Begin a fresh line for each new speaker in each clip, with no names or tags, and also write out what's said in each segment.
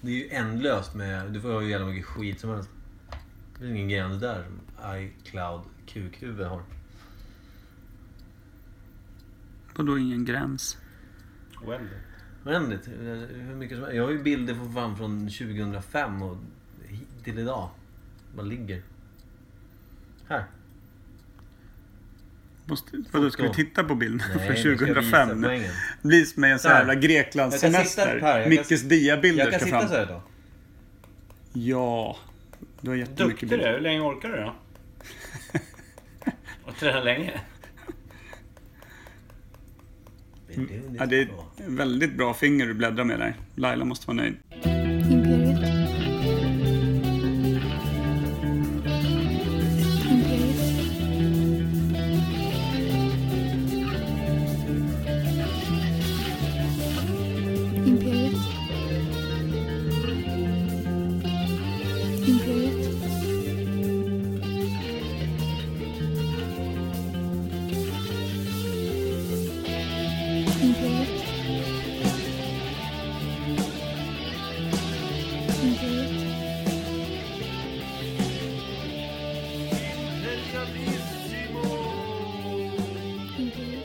Det är ju ändlöst med... Du får ha hur jävla mycket skit som helst. Det är ingen gräns där som iCloud kukhuvud har.
Vadå ingen gräns?
Well.
Oändligt. Hur mycket som helst. Jag har ju bilder för fan från 2005 och hit till idag. Bara ligger. Här.
Måste, vadå, ska vi
Foto.
titta på bilden
Nej, nu ska
för
jag visa
2005? Det
poängen.
blir som en sån
Där.
jävla
Jag kan
Greklandssemester.
sitta här, jag kan-
Mickes diabilder
Jag kan
ska
sitta
fram.
så här då.
Ja. Du har
Duktig
jättemycket
du
bilder.
är. Hur länge orkar du då? Och träna länge?
Mm. Ja, det är ett väldigt bra finger du bläddrar med där. Laila måste vara nöjd.
Imperiet. Imperiet. Imperiet. Imperiet. Imperiet. Imperiet. Imperiet.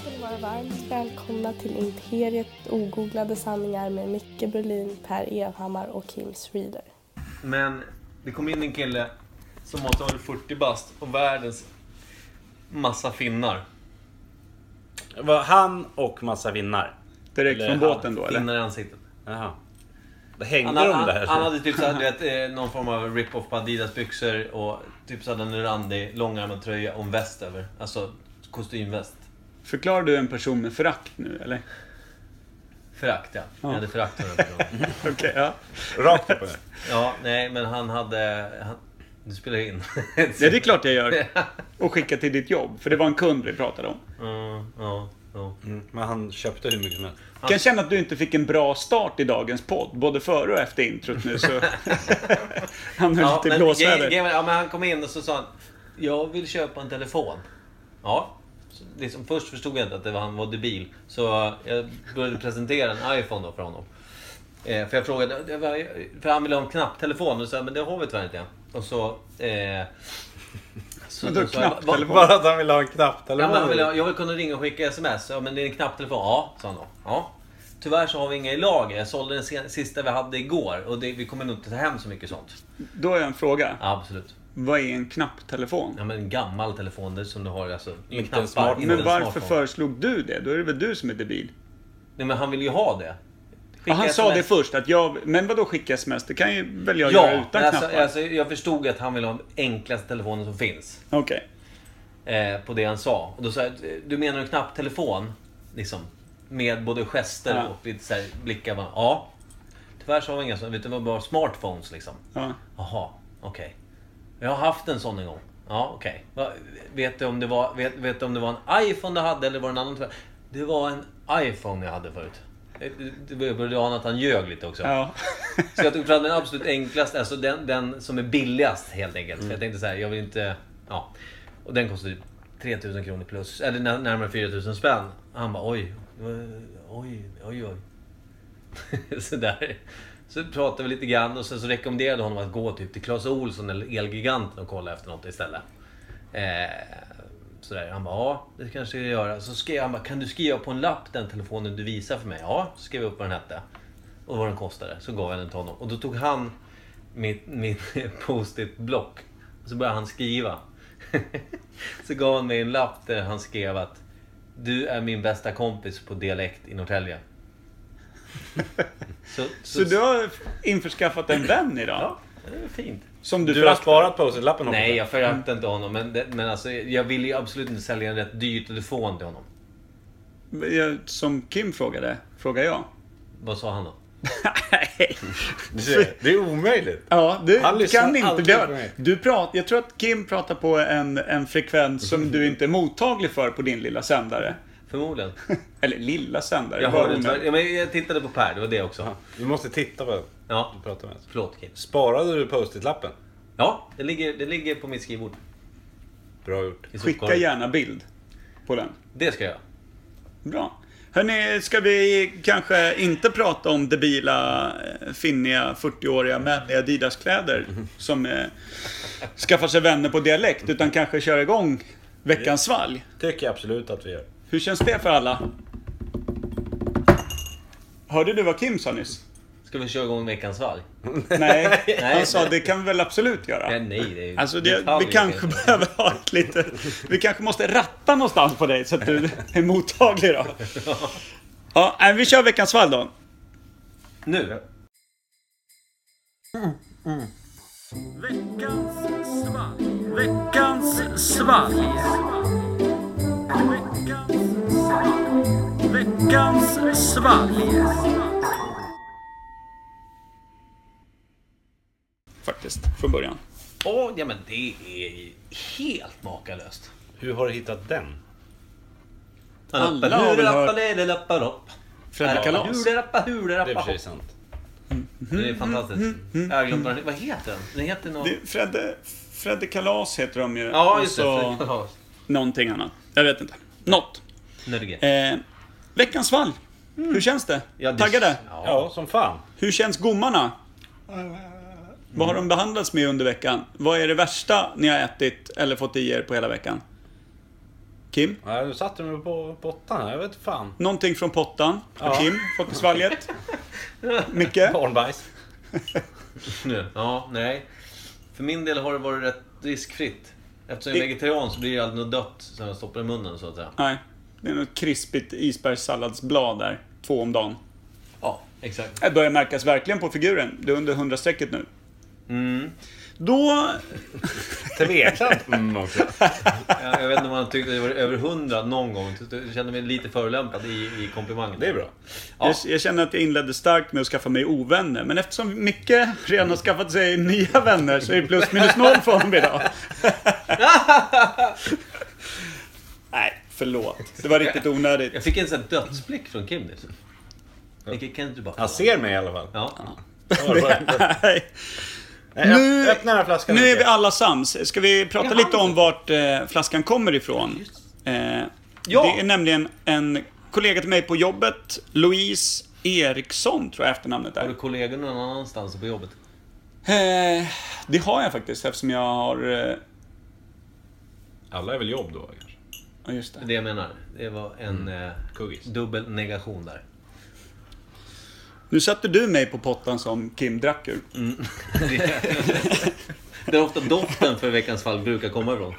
ska ni vara varmt välkomna till Imperiet ogooglade sanningar med Micke Berlin, Per Evhammar och Kim Reader.
Men det kom in en kille som måste ha varit 40 bast och världens massa finnar.
Det var han och massa vinnar.
Direkt från
Eller
båten då eller?
Finnar i ansiktet.
Jaha. Då hängde
Han,
de
han,
där.
han hade typ så här, du vet, eh, någon form av rip-off på Adidas byxor och typ så hade han en randig långärmad tröja och en väst över. Alltså kostymväst.
Förklarar du en person med förakt nu eller?
Förakt ja. Jag hade förakt för den personen.
Okej, ja.
Rakt upp och ner.
Ja, nej men han hade... Han, nu spelar jag in.
Ja, det är klart jag gör. Och skicka till ditt jobb. För det var en kund vi pratade om.
Mm, ja, ja.
Mm, Men han köpte hur mycket som helst.
Kan jag känna att du inte fick en bra start i dagens podd. Både före och efter introt nu så... Han höll
Ja,
lite
men
blåsväder.
grejen- ja, men han kom in och så sa han, jag vill köpa en telefon. Ja. Så Liksom, först förstod jag inte att det var, han var debil, så jag började presentera en iPhone då för honom. Eh, för jag frågade, det var, för han ville ha en knapptelefon, och så här, men det har vi tyvärr inte. Och så... Eh, så
Vadå,
så jag, "Va-
knapptelefon?"
Bara att han ville ha en knapp
Ja, men han ville, ha- jag vill kunna ringa och skicka sms. Ja, men det är en knapptelefon. Ja, sa han då. Ja. Tyvärr så har vi inga i lager. Jag sålde den sen- sista vi hade igår och det, vi kommer nog inte ta hem så mycket sånt.
Då har jag en fråga.
Ja, absolut.
Vad är en knapptelefon?
Ja men en gammal telefon där som du har alltså.
Inte
knappar,
en smart-
inte
Men
en
varför
smartphone.
föreslog du det? Då är det väl du som är debil?
Nej men han vill ju ha det.
Ja, han
Skicka
sa det
SMS.
först. Att jag, men vadå skicka sms? Det kan ju väl jag göra
Ja,
utan
men alltså,
knappar?
alltså, jag förstod att han vill ha den enklaste telefonen som finns.
Okej.
Eh, på det han sa. Och då sa jag, du menar en knapptelefon? Liksom. Med både gester
Ja.
och lite så här, blickar. Man, ja. Tyvärr så har vi inga sådana. Det var bara smartphones liksom.
Ja.
Jaha, okej. Jag har haft en sån en gång. Ja, okej. Va- Vet, du om det var- vet, vet du om det var en iPhone du hade eller var det en annan? Det var en iPhone jag hade förut. Det började ana att han ljög lite också.
ja.
Så jag tog fram den absolut enklaste, alltså den, den som är billigast helt enkelt. För jag tänkte så här, jag vill inte... Ja. Och den kostade typ 3000 kronor plus, eller när- närmare 4000 spänn. Han bara oj, det var- oj, oj, oj. så där. Så pratade vi lite grann och sen så rekommenderade jag honom att gå typ till Clas Ohlson eller Elgiganten och kolla efter något istället. Eh, Sådär. Han bara, ja det kanske jag gör. Så skrev han bara, kan du skriva på en lapp den telefonen du visar för mig? Ja, så skrev jag upp vad den hette. Och vad den kostade. Så gav jag den till honom. Och då tog han mitt, mitt post-it block. Och så började han skriva. så gav han mig en lapp där han skrev att du är min bästa kompis på dialekt i Norrtälje. så,
Så du har införskaffat en vän idag?
Ja, det är fint.
Som du,
Du har
föraktar?
sparat post-it-lappen hoppas
Nej,
jag.
jag föraktar inte honom. Men, det, men alltså, jag ville ju absolut inte sälja en rätt dyr telefon till honom.
Ja, Som Kim frågade, frågar jag.
Vad sa han då?
Nej.
Du ser, Det är omöjligt.
Ja, du
Han lyssnar
kan inte.
aldrig
Du,
på mig.
du pratar, jag tror att Kim pratar på en, en frekvens som du inte är mottaglig för på din lilla sändare.
Förmodligen.
Eller lilla sändare.
Jag,
var
hörde,
det
inte-
med-
ja, men jag tittade på Per, det var det också.
Du måste titta på
Ja.
du pratar med.
Förlåt Kim.
Sparade du post-it-lappen?
Ja, det ligger, det ligger på mitt skrivbord.
Bra gjort.
i
Skicka
sopkorgen.
gärna bild på den.
Det ska jag göra.
Bra. Hörni, ska vi kanske inte prata om debila, eh, finniga, 40-åriga män i Adidas-kläder som eh, skaffar sig vänner på dialekt, utan kanske köra igång veckans svalg?
Tycker jag absolut att vi gör.
Hur känns det för alla? Hörde du vad Kim sa nyss?
Ska vi köra igång veckans valg?
Nej,
Nej.
han sa det kan vi väl absolut
Ja,
göra.
nej, det är ju
Alltså det, vi
detaljer,
kanske behöver ha ett lite... Vi kanske måste ratta någonstans på dig så att du är mottaglig då. Ja, nej, vi kör veckans fall då.
Nu?
Faktiskt, från början.
Åh, ja men det är ju helt makalöst.
Hur har du hittat den?
Alla
Lappa,
har väl
hurra,
hört-
lappa, lele, lappa, lopp.
Fredrik Kalas.
Hurra, lappa, hurra,
Det är i och
lappa,
för sig
hopp.
sant.
Mm,
Det är fantastiskt. Jag har glömt vad den- Vad heter den? Den heter något...
Det- Fredde, Fredde Kalas heter de ju.
Ja,
Och
just det.
så
Ja,
Någonting annat. Jag vet inte. Något.
Nödge.
Eh, veckans fall. Hur känns det?
Mm. Ja, det-
Taggade?
Ja.
Ja, som fan.
Hur känns gommarna? Vad har de behandlats med under veckan? Vad är det värsta ni har ätit eller fått i er på hela veckan? Kim?
Ja, du satte mig på botten. Jag vet fan.
Någonting från pottan har
Ja.
Kim fått i svalget? Micke?
Barnbajs.
Nu. Ja, nej. För min del har det varit rätt riskfritt. Eftersom jag är
Det-
vegetarian så blir det aldrig något dött som jag stoppar i munnen så att säga.
Nej, det är något krispigt isbergssalladsblad där. Två om dagen.
Ja, exakt.
Det börjar märkas verkligen på figuren. Du är under 100-strecket nu. Då...
Tveksamt. Mm, också.
Jag, jag vet inte om han tyckte det var över 100 någon gång. Så Jag kände mig lite förolämpad i, i komplimangen.
Det är bra.
Ja.
Jag, jag känner att jag inledde starkt med att skaffa mig ovänner. Men eftersom Micke redan har skaffat sig nya vänner så är det plus minus noll för honom idag. Nej, förlåt. Det var riktigt onödigt.
Jag fick en sån här dödsblick från Kim nyss. Vilket kan inte du bara...
Han ser mig i alla fall.
Ja.
Nej.
Nej,
Nu-
nu, öppna den här flaskan.
Nu är vi
Micke.
alla sams. Ska vi prata
Ja.
lite om vart eh, flaskan kommer ifrån? Eh,
Ja.
Det är nämligen en kollega till mig på jobbet, Louise Eriksson tror jag efternamnet
Har
är.
du kollegor någon annanstans på jobbet?
Eh, det har jag faktiskt eftersom jag har... eh,
Alla är väl jobb då kanske?
Ja, just det.
Det är det jag menar. Det var en eh,
Kuggis.
dubbel negation där.
Nu satte du mig på pottan som Kim drack ur.
Där ofta doften för veckans fall brukar komma ifrån.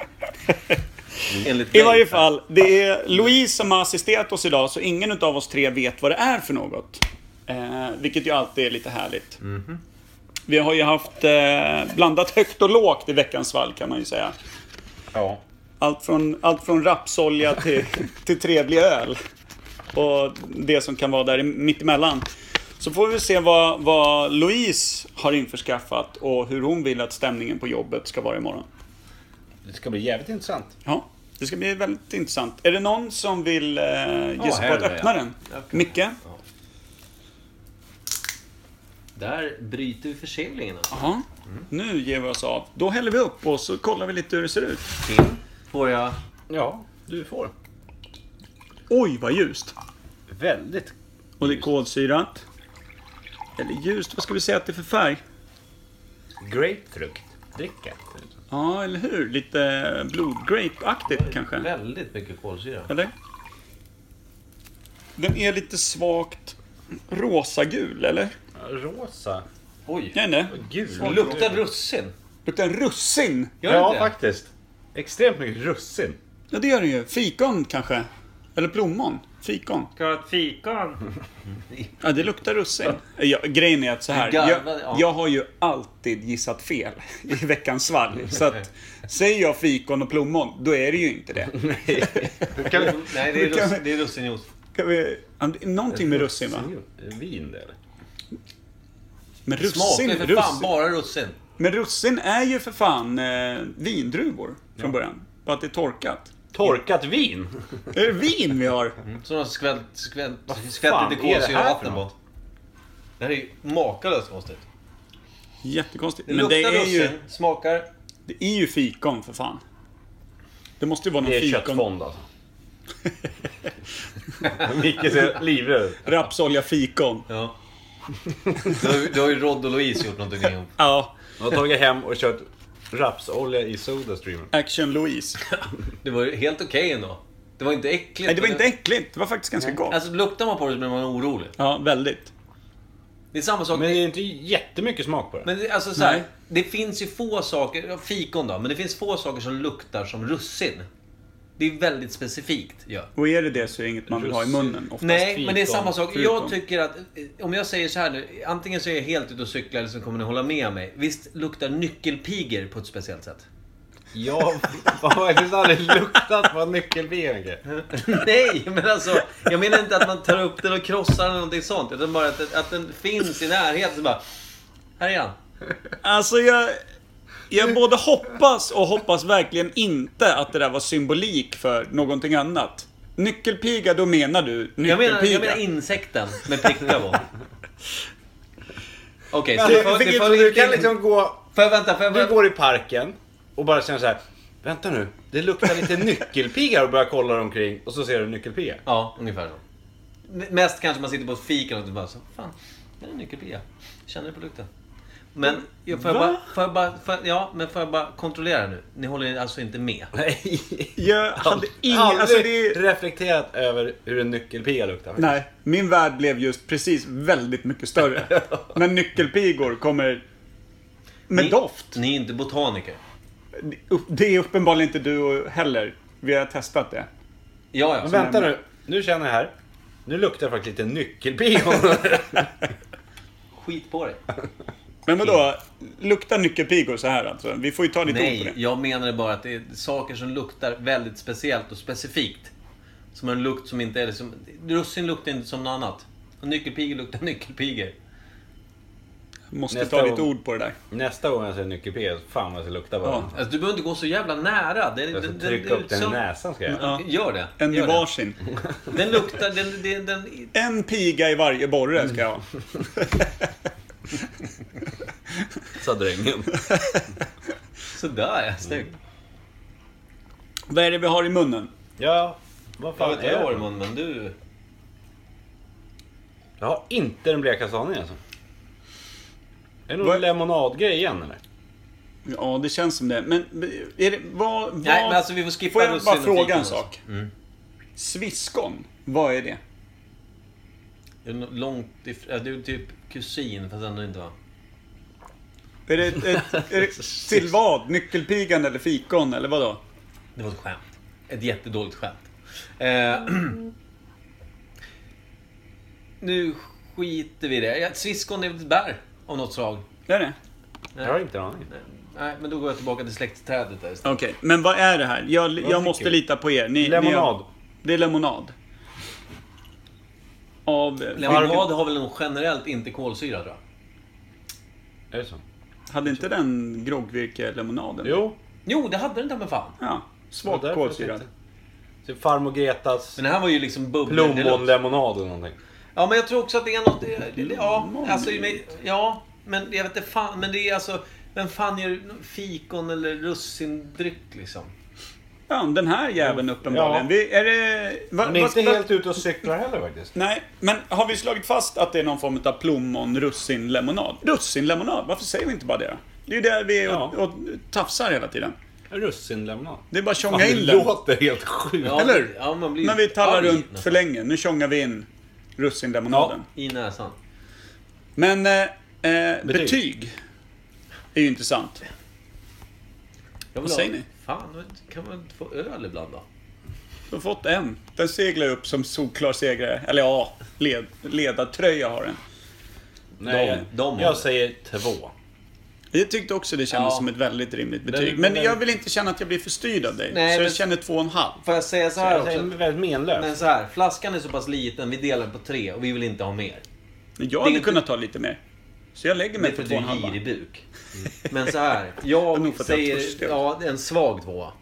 Enligt
I
mig.
varje fall, det är Louise som har assisterat oss idag, så ingen av oss tre vet vad det är för något. Eh, vilket ju alltid är lite härligt. Vi har ju haft eh, blandat högt och lågt i veckans fall kan man ju säga.
Ja.
Allt från, allt från rapsolja till, till trevlig öl. Och det som kan vara där i- mittemellan. Så får vi se vad, vad Louise har införskaffat och hur hon vill att stämningen på jobbet ska vara imorgon.
Det ska bli jävligt intressant.
Ja, det ska bli väldigt intressant. Är det någon som vill eh, ge sig
här
på att
är det,
öppna
ja.
den?
Ja, okej.
Micke?
Där bryter vi förseglingen. alltså.
Ja. Nu ger vi oss av. Då häller vi upp och så kollar vi lite hur det ser ut.
Kim, får jag...
Ja, du får.
Oj, vad ljust!
Väldigt.
Och det är kolsyrat. Eller ljust, vad ska vi säga att det är för färg?
Grapefrukt. Dricka.
Ja, eller hur? Lite blodgrape-aktigt kanske?
Väldigt mycket kolsyra.
Eller? Den är lite svagt rosagul, eller?
Rosa.
Oj!
Jag vet inte.
Det
Gul.
luktar russin.
Luktar russin?
Gör det
Ja,
inte?
faktiskt. Extremt mycket russin.
Ja, det gör den ju. Fikon kanske? Eller plommon? Fikon?
Ska jag ha ett fikon?
Ja, det luktar russin. Ja, grejen är att så här.
Du garvar,
jag,
ja.
jag har ju alltid gissat fel i veckans svalg. Så att, säger jag fikon och plommon, då är det ju inte det.
Nej, det är, russin, det är russinjuice.
Kan vi, ja, det är någonting med russin va?
eh, Vin det eller?
Men
Smakar
russin,
ju för fan
russin,
bara russin.
men russin är ju för fan eh, vindruvor från början. Bara att det är torkat.
Torkat vin?
Är det vin vi har?
Som de skvält, skvält,
fan
skvält lite
är det
kolsyra och
här
vatten
för
på.
något?
Det här är ju makalöst konstigt.
Jättekonstigt.
Det
Men det
luktar
är,
russin,
ju,
smakar...
det är ju fikon för fan. Det måste ju vara någon
Det är
fikon.
köttfond alltså. Micke ser livrädd ut.
Rapsolja, fikon.
Ja. Du, har ju- du har ju Rod och Louise gjort någonting ihop.
Ja,
Jag har tagit hem och kört rapsolja i Sodastreamen.
Action Louise.
Det var ju helt okej ändå. Det var inte äckligt.
Nej, det var inte äckligt. Det var faktiskt ganska gott.
Alltså luktar man på det så blir man orolig.
Ja, väldigt.
Det är samma sak.
Men
Men,
det är inte jättemycket smak på det.
det, alltså så här,
Nej.
Det finns ju få saker, ja, fikon då, men det finns få saker som luktar som russin. Det är väldigt specifikt. Ja.
Och är det det så är det inget man vill ha i munnen oftast.
Nej, men det är
fikon,
samma sak.
förutom-
Jag tycker att, eh, om jag säger så här nu, antingen så är jag helt ute och cyklar eller så kommer ni hålla med mig. Visst luktar nyckelpiger på ett speciellt sätt?
Jag har faktiskt aldrig luktat på nyckelben.
Nej, men alltså. Jag menar inte att man tar upp den och krossar den eller någonting sånt. Utan bara att, att den finns i närheten. Så bara, här är han.
Alltså jag... Jag både hoppas och hoppas verkligen inte att det där var symbolik för någonting annat. Nyckelpiga, då menar du
Jag
nyckelpiga.
menar, jag menar insekten med prickar på. Okej, så
Du,
vi får, vi får,
du kan liksom gå...
får jag vänta? Får jag,
Du
vänta?
går i parken och bara känner så här. Vänta nu, det luktar lite nyckelpiga och börjar kolla omkring och så ser du nyckelpiga.
Ja, ungefär så. M- Mest kanske man sitter på ett fik eller något och bara så, fan, det är en nyckelpiga. Känner du på lukten? Men, jag får jag bara, får jag bara, får jag, ja, men får jag bara kontrollera nu? Ni håller alltså inte med?
Nej.
Jag hade ingen...
Aldrig
Alltså det är...
reflekterat över hur en nyckelpiga luktar.
Nej, min värld blev just precis väldigt mycket större. När nyckelpigor kommer med
Ni-
doft.
Ni är inte botaniker.
Det är uppenbarligen inte du heller. Vi har testat det.
Ja, ja.
Men vänta nu, nu känner jag här. Nu luktar jag faktiskt lite nyckelpiga.
Skit på dig.
Men vadå, luktar nyckelpigor så här alltså? Vi får ju ta ditt ord på
Nej,
det.
jag menade bara att det är saker som luktar väldigt speciellt och specifikt. Som en lukt som inte är... Liksom, russin luktar inte som något annat. Och nyckelpigor luktar nyckelpigor.
Måste
Nästa
ta ditt
gång.
ord på det där.
Nästa gång jag ser en nyckelpiga, fan vad jag ska lukta på
Ja.
den.
Alltså, du behöver inte gå så jävla nära. Den,
Jag ska
den,
trycka upp den i näsan ska jag göra.
Ja.
Gör det.
En i
Gör det.
varsin.
Den luktar... Den, den, den,
En piga i varje borre ska jag ha.
Sa drängen. Mm.
sådär ja, snyggt.
Vad är det vi har i munnen?
Ja, vad
Jag
fan
vet
är
inte vad
det?
Ormond, men du...
Jag har inte den bleka saningen alltså. Är det
Vad-
någon lemonadgrej igen eller?
Ja, det känns som det. Men är det, vad, vad...
Nej, men alltså vi får skippa
Får jag
russin
bara
och
fråga
fikon
en
och så.
sak? Sviskon, vad är det?
Det är nå- Långt ifrån... Du är typ kusin, fast ändå inte va?
Är det, ett, ett, är det till vad? Nyckelpigan eller fikon eller vadå?
Det var ett skämt. Ett jättedåligt skämt. Eh, nu skiter vi i det. Ja, Sviskon är väl ett bär av något slag.
Är det?
Jag har inte en aning.
Nej, men då går jag tillbaka till släktträdet där istället.
Okej, men vad är det här? Jag, jag måste
tycker du?
lita på er. Ni, Ni
Lemonad.
har, det är lemonad. Av...
Lemonad har väl nog generellt inte kolsyra tror jag.
Är det så?
Hade inte den groggvirke-lemonaden?
Jo.
Jo, det hade den ta med fan.
Ja, svag
Ja, därför
kolsyra.
sitter- Typ farmor Gretas
Men det här var ju liksom bubblor deluxe.
plommonlemonad eller någonting.
Ja, men jag tror också att det är något... det- det- Ja, alltså, men- ja men jag vet inte fan. Men det är alltså... Vem fan gör fikon eller russindryck liksom?
Ja, den här jäveln uppenbarligen.
Ja.
Vi, är det... Va,
Men inte
va-
helt ute och cyklar heller faktiskt.
Nej, men har vi slagit fast att det är någon form av plommon, russin, lemonad? Russinlemonad, varför säger vi inte bara det då? Det är ju där vi är och,
Ja.
och tafsar hela tiden.
Russinlemonad.
Det är bara att
Fan,
tjonga
det
in den.
låter helt sjukt.
Ja,
Eller?
Ja, man blir
När vi tallar
arg
runt för
nästan.
länge, nu tjongar vi in russinlemonaden.
I näsan.
Men eh, eh, betyg.
Betyg.
är ju intressant.
Jag
Vad
vill ha-
säger ni?
Fan, men kan man inte få öl ibland då?
Du har fått en. Den seglar upp som solklar segrare. Eller ja, led, ledartröja har den.
Nej, jag-
De- de har
jag
det.
säger två.
Jag tyckte också det kändes
Ja.
som ett väldigt rimligt
Den-
betyg.
den-
Men
den-
jag vill inte känna att jag blir för styrd av dig.
Nej,
så jag
men-
känner två och en halv.
Får jag säga så här
Jag säger
också?
väldigt
Men
menlös.
så här, flaskan är så pass liten, vi delar på tre och vi vill inte ha mer.
Men jag
Det är
hade
inte-
kunnat ta lite mer. Så jag lägger
Det är
mig
för
på
att
två
du
och en
är
halv.
girig buk. Men så här,
är nog
jag
för att jag är
säger
törstig.
ja, det är en svag tvåa.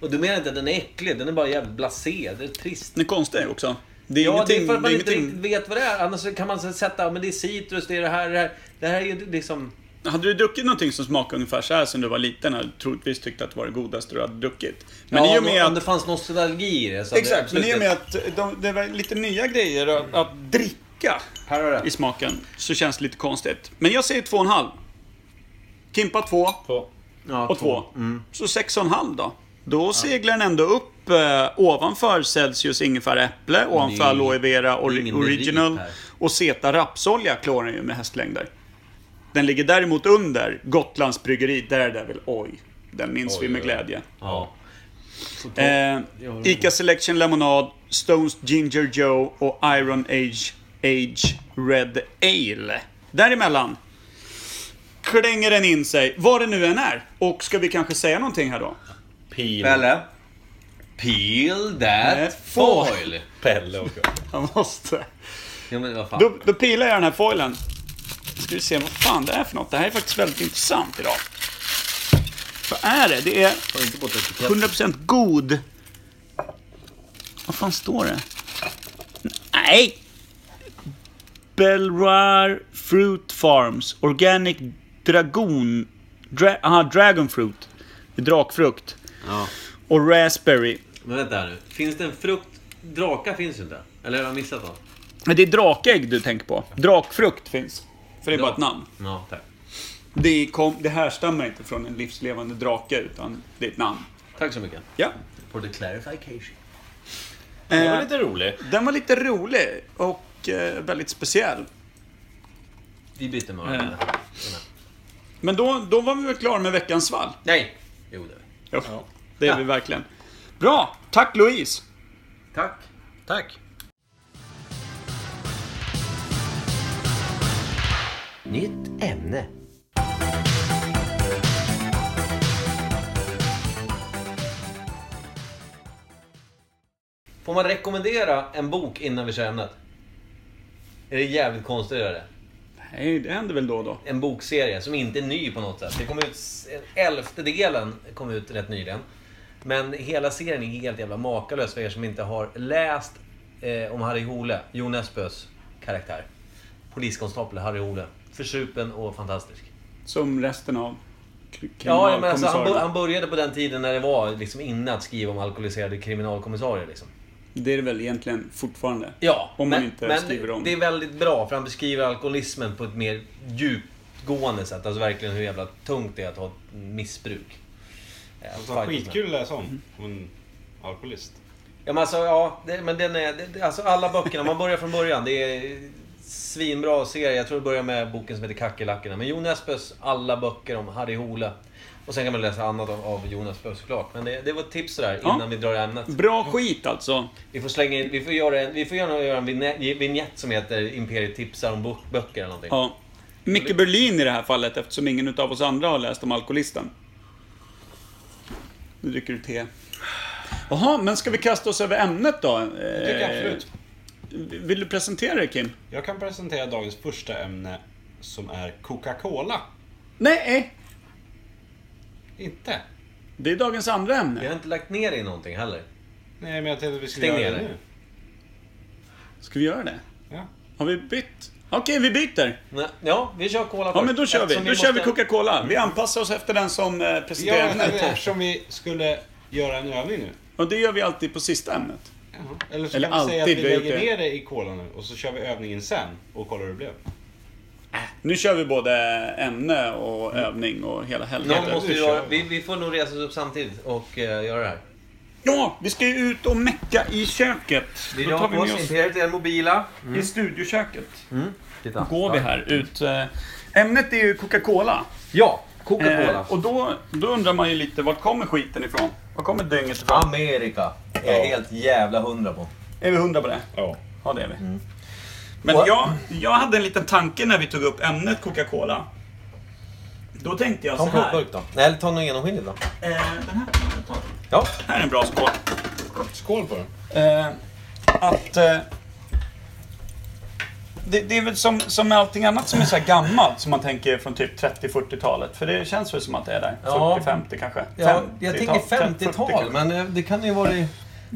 Och du menar inte att den är äcklig, den är bara jävligt blasé, det är trist.
Den är konstig också. Det är
Ja, det
ingenting...
är för att man
det är
inte
ingenting-
riktigt vet vad det är. Annars så kan man så sätta, men det är citrus, det är det här, det här. Det här är ju liksom...
Hade du druckit någonting som smakade ungefär så här sen du var liten hade du troligtvis tyckt att det var det godaste du hade druckit. Men
ja,
i och med
om
att
det fanns nostalgi i det. Så hade
Exakt, men
absolut
i och med
ett-
att de, det var lite nya grejer att, att dricka
Här har du
i
det.
smaken så känns det lite konstigt. Men jag säger två och en halv. Kimpa två
På.
Ja,
och två.
Mm.
Så sex och en halv då. Då seglar den ändå upp eh, ovanför Celsius ingefäräpple, ovanför
ju-
aloe vera
det är ingen
ori-
merit
original
här.
och zeta rapsolja klarar den ju med hästlängder. Den ligger däremot under Gotlands bryggeri, där är det väl oj. Den minns vi med glädje.
Ja. Fotboll.
Eh, Ica Selection Lemonade, Stones Ginger Joe och Iron Age Age Red Ale. Däremellan klänger den in sig, vad det nu än är. Och ska vi kanske säga någonting här då?
Pil.
Pelle. Peel that
Nej,
foil.
Pelle och
Jag måste.
Ja, men vad fan.
Då, då pilar jag den här foilen. Ska vi se vad fan det är för något. Det här är faktiskt väldigt intressant idag. Vad är det? Det är
Har du inte bort etiketten?
100% god. Vad fan står det? Nej! Belroir Fruit Farms Organic Dragon... Dra, aha, Dragon Fruit. Det är Drakfrukt.
Ja.
Och Raspberry.
Men vänta här nu. Finns det en frukt? Draka finns ju inte. Eller har jag missat något?
Men Det är drakägg du tänker på. Drakfrukt finns. För det är bara ett namn.
Ja, tack.
Det, kom, det härstammar inte från en livslevande drake, utan det är ett namn.
Tack så mycket.
Ja.
For the clarification.
Det
Eh,
var lite rolig.
den var lite rolig och eh, väldigt speciell.
Vi byter med
Mm.
varandra.
Men då, då var vi väl klara med veckans svall?
Nej! Jo, det är vi.
Jo, det är vi verkligen. Bra! Tack Louise!
Tack.
Tack.
Nytt ämne. Får man rekommendera en bok innan vi kör ämnet? Är det jävligt konstigt att göra det?
Nej, det händer väl då och då.
En bokserie som inte är ny på något sätt. Det kom ut, s- elfte delen kom ut rätt nyligen. Men hela serien är helt jävla makalös för er som inte har läst eh, om Harry Hole, Jo Nesbøs karaktär. Poliskonstapel Harry Hole. Försupen och fantastisk.
Som resten av kri-
Ja, ja, men alltså, han, bör-
kriminalkommissarierna.
han började på den tiden när det var liksom inne att skriva om alkoholiserade kriminalkommissarier. Liksom.
Det är det väl egentligen fortfarande.
Ja,
Om
men,
man inte
men
skriver om.
det är väldigt bra för han beskriver alkoholismen på ett mer djupgående sätt. Alltså verkligen hur jävla tungt det är att ha ett missbruk. Eh, fight och sånt.
Alltså, Skitkul att läsa om. Om en alkoholist.
Ja, men alltså, ja, det, men den är, det, det- alltså alla böckerna, man börjar från början. Det är svinbra serie. Jag tror det börjar med boken som heter Kackerlackorna. Men Jo Nesbøs alla böcker om Harry Hole. Och sen kan man läsa annat av, av Jo Nesbø såklart. Men det, det var ett tips sådär
Ja.
innan vi drar i ämnet.
Bra skit alltså.
Vi får slänga in, vi får göra en, vi får gärna göra en vignett, vignett som heter Imperiet tipsar om bok, böcker eller någonting.
Ja. Micke Berlin i det här fallet eftersom ingen utav oss andra har läst om alkoholisten. Nu dricker du te. Jaha, men ska vi kasta oss över ämnet då?
Det
Eh.
tycker jag absolut.
Vill du presentera det Kim?
Jag kan presentera dagens första ämne som är Coca-Cola.
Nej, eh.
Inte.
det är dagens andra ämne.
Vi har inte lagt ner det i någonting heller.
Nej, men jag tänkte att vi skulle
Stäng
göra det
ner
nu.
Ska vi göra det?
Ja.
Har vi bytt? Okej, vi byter.
Nej, Ja, vi kör Cola
Ja,
först,
men då kör vi. Då
eftersom
kör vi
måste-
Coca-Cola. Vi anpassar oss efter den som eh,
Ja,
presenterar
men
ämnet.
eftersom vi skulle göra en övning nu.
Och det gör vi alltid på sista ämnet.
Jaha. Eller så
Eller
kan vi säga att vi
alltid, vi har gjort
lägger
det.
ner det i Cola nu och så kör vi övningen sen och kollar hur det blev.
Nu kör vi både ämne och övning och hela
Mm. Någon
helheten.
måste ju
Nu kör
göra,
vi.
vi, vi får nog resa oss upp samtidigt och eh, göra det här.
Ja, vi ska ju ut och mecka i köket.
Vi
Då tar
rör
vi
på oss
med oss
Imperiet är mobila.
i studioköket.
Titta.
Går vi här ut. eh, Ämnet är ju Coca-Cola.
Ja, Coca-Cola.
Eh, och då, då undrar man ju lite, vart kommer skiten ifrån? Var kommer dynget ifrån?
Amerika är jag
Ja.
helt jävla hundra på.
Är vi hundra på det?
Ja.
Ja, det är vi. Men
Mm. Och-
jag, jag hade en liten tanke när vi tog upp ämnet Coca-Cola. Då tänkte jag så
Ta en
här.
plåtburk då. Nej, eller ta någon genomskinlig då.
Eh, den här,
Ja.
här är en bra skål.
Skål på den.
Eh, att... Eh, det, det är väl som, som med allting annat som är så här gammalt som man tänker från typ 30-40-talet. För det känns väl som att det är där.
Ja.
40-50 kanske.
Ja,
50-tal,
jag tänker 50-tal,
40 kanske.
men eh, det kan ju vara i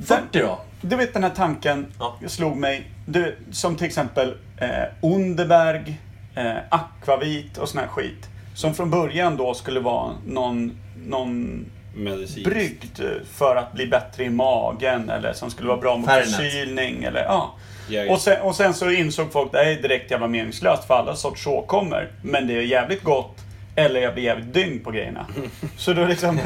40 då.
Du vet den här tanken
Ja.
slog mig. Du, som till exempel eh, Underberg, eh, Akvavit och sån här skit. Som från början då skulle vara någon, någon
Medicin.
brygd för att bli bättre i magen eller som skulle vara bra mot
Fernet.
förkylning. Eller, ja.
Jäger.
och, sen, och sen så insåg folk att det här är direkt jävla meningslöst för alla sorts åkommor. Men det är jävligt gott. Eller jag blir jävligt dyng på grejerna. Så då liksom,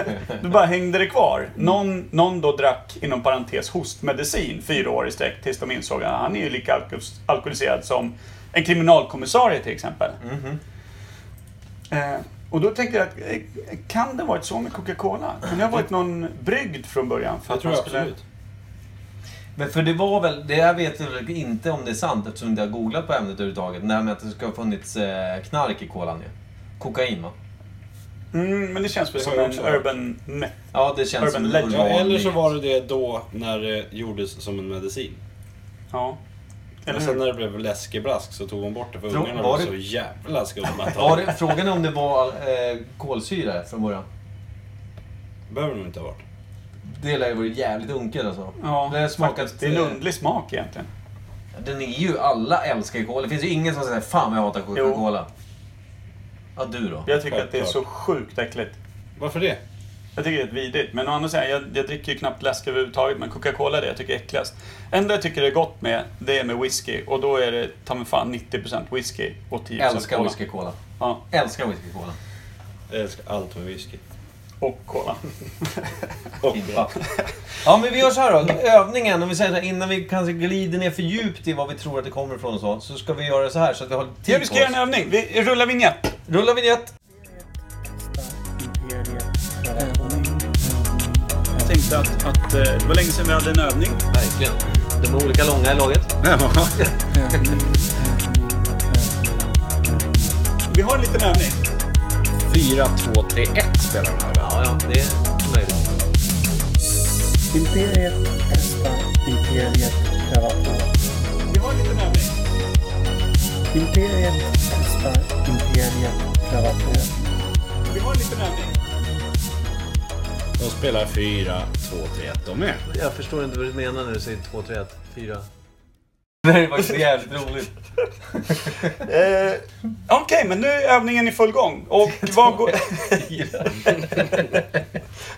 då bara hängde det kvar. Någon, någon då drack, inom parentes, hostmedicin fyra år i sträck tills de insåg att han är ju lika alkohol- alkoholiserad som en kriminalkommissarie till exempel.
Mhm.
Eh, och då tänkte jag, att, eh, kan det varit så med Coca-Cola? Kan det ha varit någon brygd från början? För
Jag
att
tror
man
absolut.
Men för det var väl, det här vet jag inte om det är sant eftersom jag inte har googlat på ämnet överhuvudtaget. Det här med att det ska ha funnits eh, knark i kolan ju. Kokain va?
Mm, men det känns väl
Det
som
har jag
en
också hört.
urban myth.
Ja, det känns
Urban
som en
legend.
urban
Ja, eller så
nyhet.
var det det då när det gjordes som en medicin.
Ja. Mm. Eller
Men sen
hur?
när det blev läskebrask så tog hon bort det för
Tror-
ungarna
var
var
det-
så jävla skumma.
Ja, det, frågan är om det var eh, kolsyra från början.
behöver nog inte ha varit.
Det lär ju varit jävligt unket alltså.
Ja,
det har smakat...
faktiskt. det är eh, en underlig smak egentligen.
Den är ju, alla älskar ju cola. Det finns ju ingen som säger fan jag hatar Coca-Cola. Ja, du då?
Jag tycker att det är så
Självklart.
sjukt äckligt.
Varför det?
Jag tycker det är vidrigt. Men å andra sidan, jag, jag dricker ju knappt läsk överhuvudtaget. Men Coca-Cola är det jag tycker är äckligast. enda jag tycker det är gott med, det är med whisky. Och då är det ta mig fan 90% whisky och 10%
Älskar
cola.
whisky-cola.
Ja,
Älskar whisky-cola.
Jag älskar allt med whisky.
och cola.
Och
Ja. ja, men vi gör så här då. Övningen, om vi säger så här, innan vi kanske glider ner för djupt i vad vi tror att det kommer ifrån och så, så ska vi göra så här så att vi har tid
Ja, vi ska
på
göra
oss.
en övning. Vi rullar vignett.
Rulla vignett.
Iya,
Jag tänkte att, att eh, det var länge sedan vi hade en övning.
Verkligen. De är olika långa i laget.
Vi har en liten övning.
4, 2, 3, 1 spelar den här.
Ja, ja, det är möjligt.
Imperiet ya, Esta, ya, Imperiet Privata.
Vi har en liten övning.
Imperiet ya, Esta, ya, Imperiet Privata.
Vi har en liten övning.
De spelar 4, 2, 3, 1 de med.
Jag förstår inte vad du menar när du säger 2, 3, 1, 4. Det här är faktiskt jävligt roligt.
Eh, Okej, men nu är övningen i full gång. Och vad går...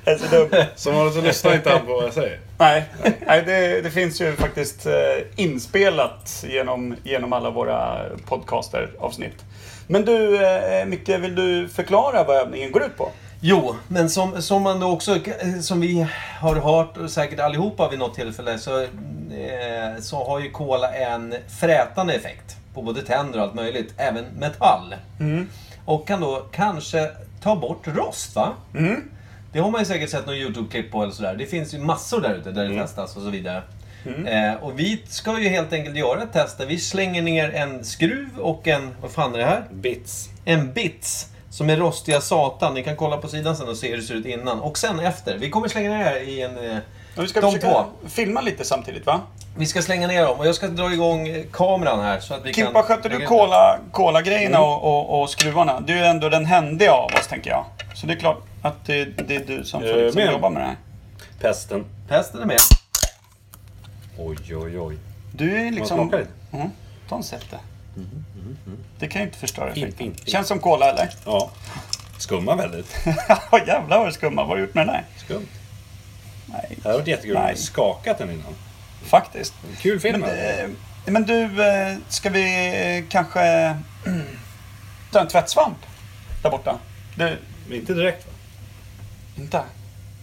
Jag är så dum.
Som vanligt så lyssnar inte han på vad jag säger.
Nej, nej det, det finns ju faktiskt eh, inspelat genom, genom alla våra podcaster-avsnitt. Men du, eh, Micke, vill du förklara vad övningen går ut på?
Jo, men som, som man då också, eh, som vi har hört och säkert allihopa vid något tillfälle så, eh, så har ju kola en frätande effekt på både tänder och allt möjligt, även metall. Och kan då kanske ta bort rost va? Det har man ju säkert sett någon YouTube-klipp på eller sådär. Det finns ju massor där ute där det testas och så vidare. Eh, och vi ska ju helt enkelt göra ett test där vi slänger ner en skruv och en, vad fan är det här?
Bits.
en bits som är rostiga satan. Ni kan kolla på sidan sen och se hur det ser ut innan och sen efter. Vi kommer slänga ner det här i en... eh,
Och Vi ska
De
försöka
två.
filma lite samtidigt, va?
Vi ska slänga ner dem och jag ska dra igång eh, kameran här så att vi kan... Mm.
Kimpa, skötte du cola, cola-grejerna och, och, och skruvarna? Du är ju ändå den händiga av oss, tänker jag. Så det är klart att det, det är du som får
Eh,
liksom
men-
jobba med det här.
Pesten.
Pesten är med.
Oj, oj, oj.
Du är liksom...
smakar lite.
Mm, ta en sätt det.
Mm,
Det kan ju inte förstöra
Fint,
effekten.
fint, fint.
Känns som cola, eller?
Ja. Skumma väldigt.
Ja, jävlar vad det skummar. Vad har du gjort med den där?
Skumt.
Nej,
Det hade varit jättekul om
Nej.
jag skakat den innan.
faktiskt.
Kul film. här.
Eh, Men du, eh, ska vi eh, kanske mm, ta en tvättsvamp där borta? Du,
Men eh, inte direkt va?
inte.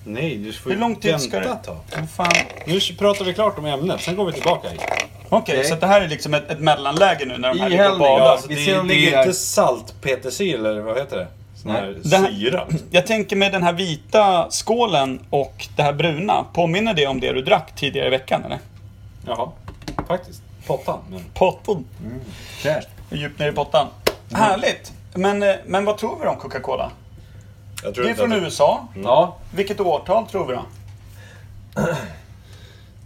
Nej, du får
Hur lång tid ska du...
vänta ett tag.
Vad fan.
Nu pratar vi klart om ämnet, sen går vi tillbaka hit.
Okej, så det här är liksom ett, ett mellanläge nu när de här ligger och
Ihällning,
badar.
ja.
alltså,
vi
det,
ser
är-
om
det
ligger
är
här.
inte saltpetersyra eller vad heter det? Sån
Nej.
här
Det här-
sirap.
Jag tänker med den här vita skålen och det här bruna. Påminner det om det du drack tidigare i veckan, eller?
Jaha, faktiskt. Pottan. Men...
Potton.
Fräscht.
Djupt ner i pottan.
Mm.
Härligt! Men, eh, men vad tror vi om Coca-Cola?
Jag tror
Det är
inte
från
att
USA.
Ja,
Vilket årtal tror vi då?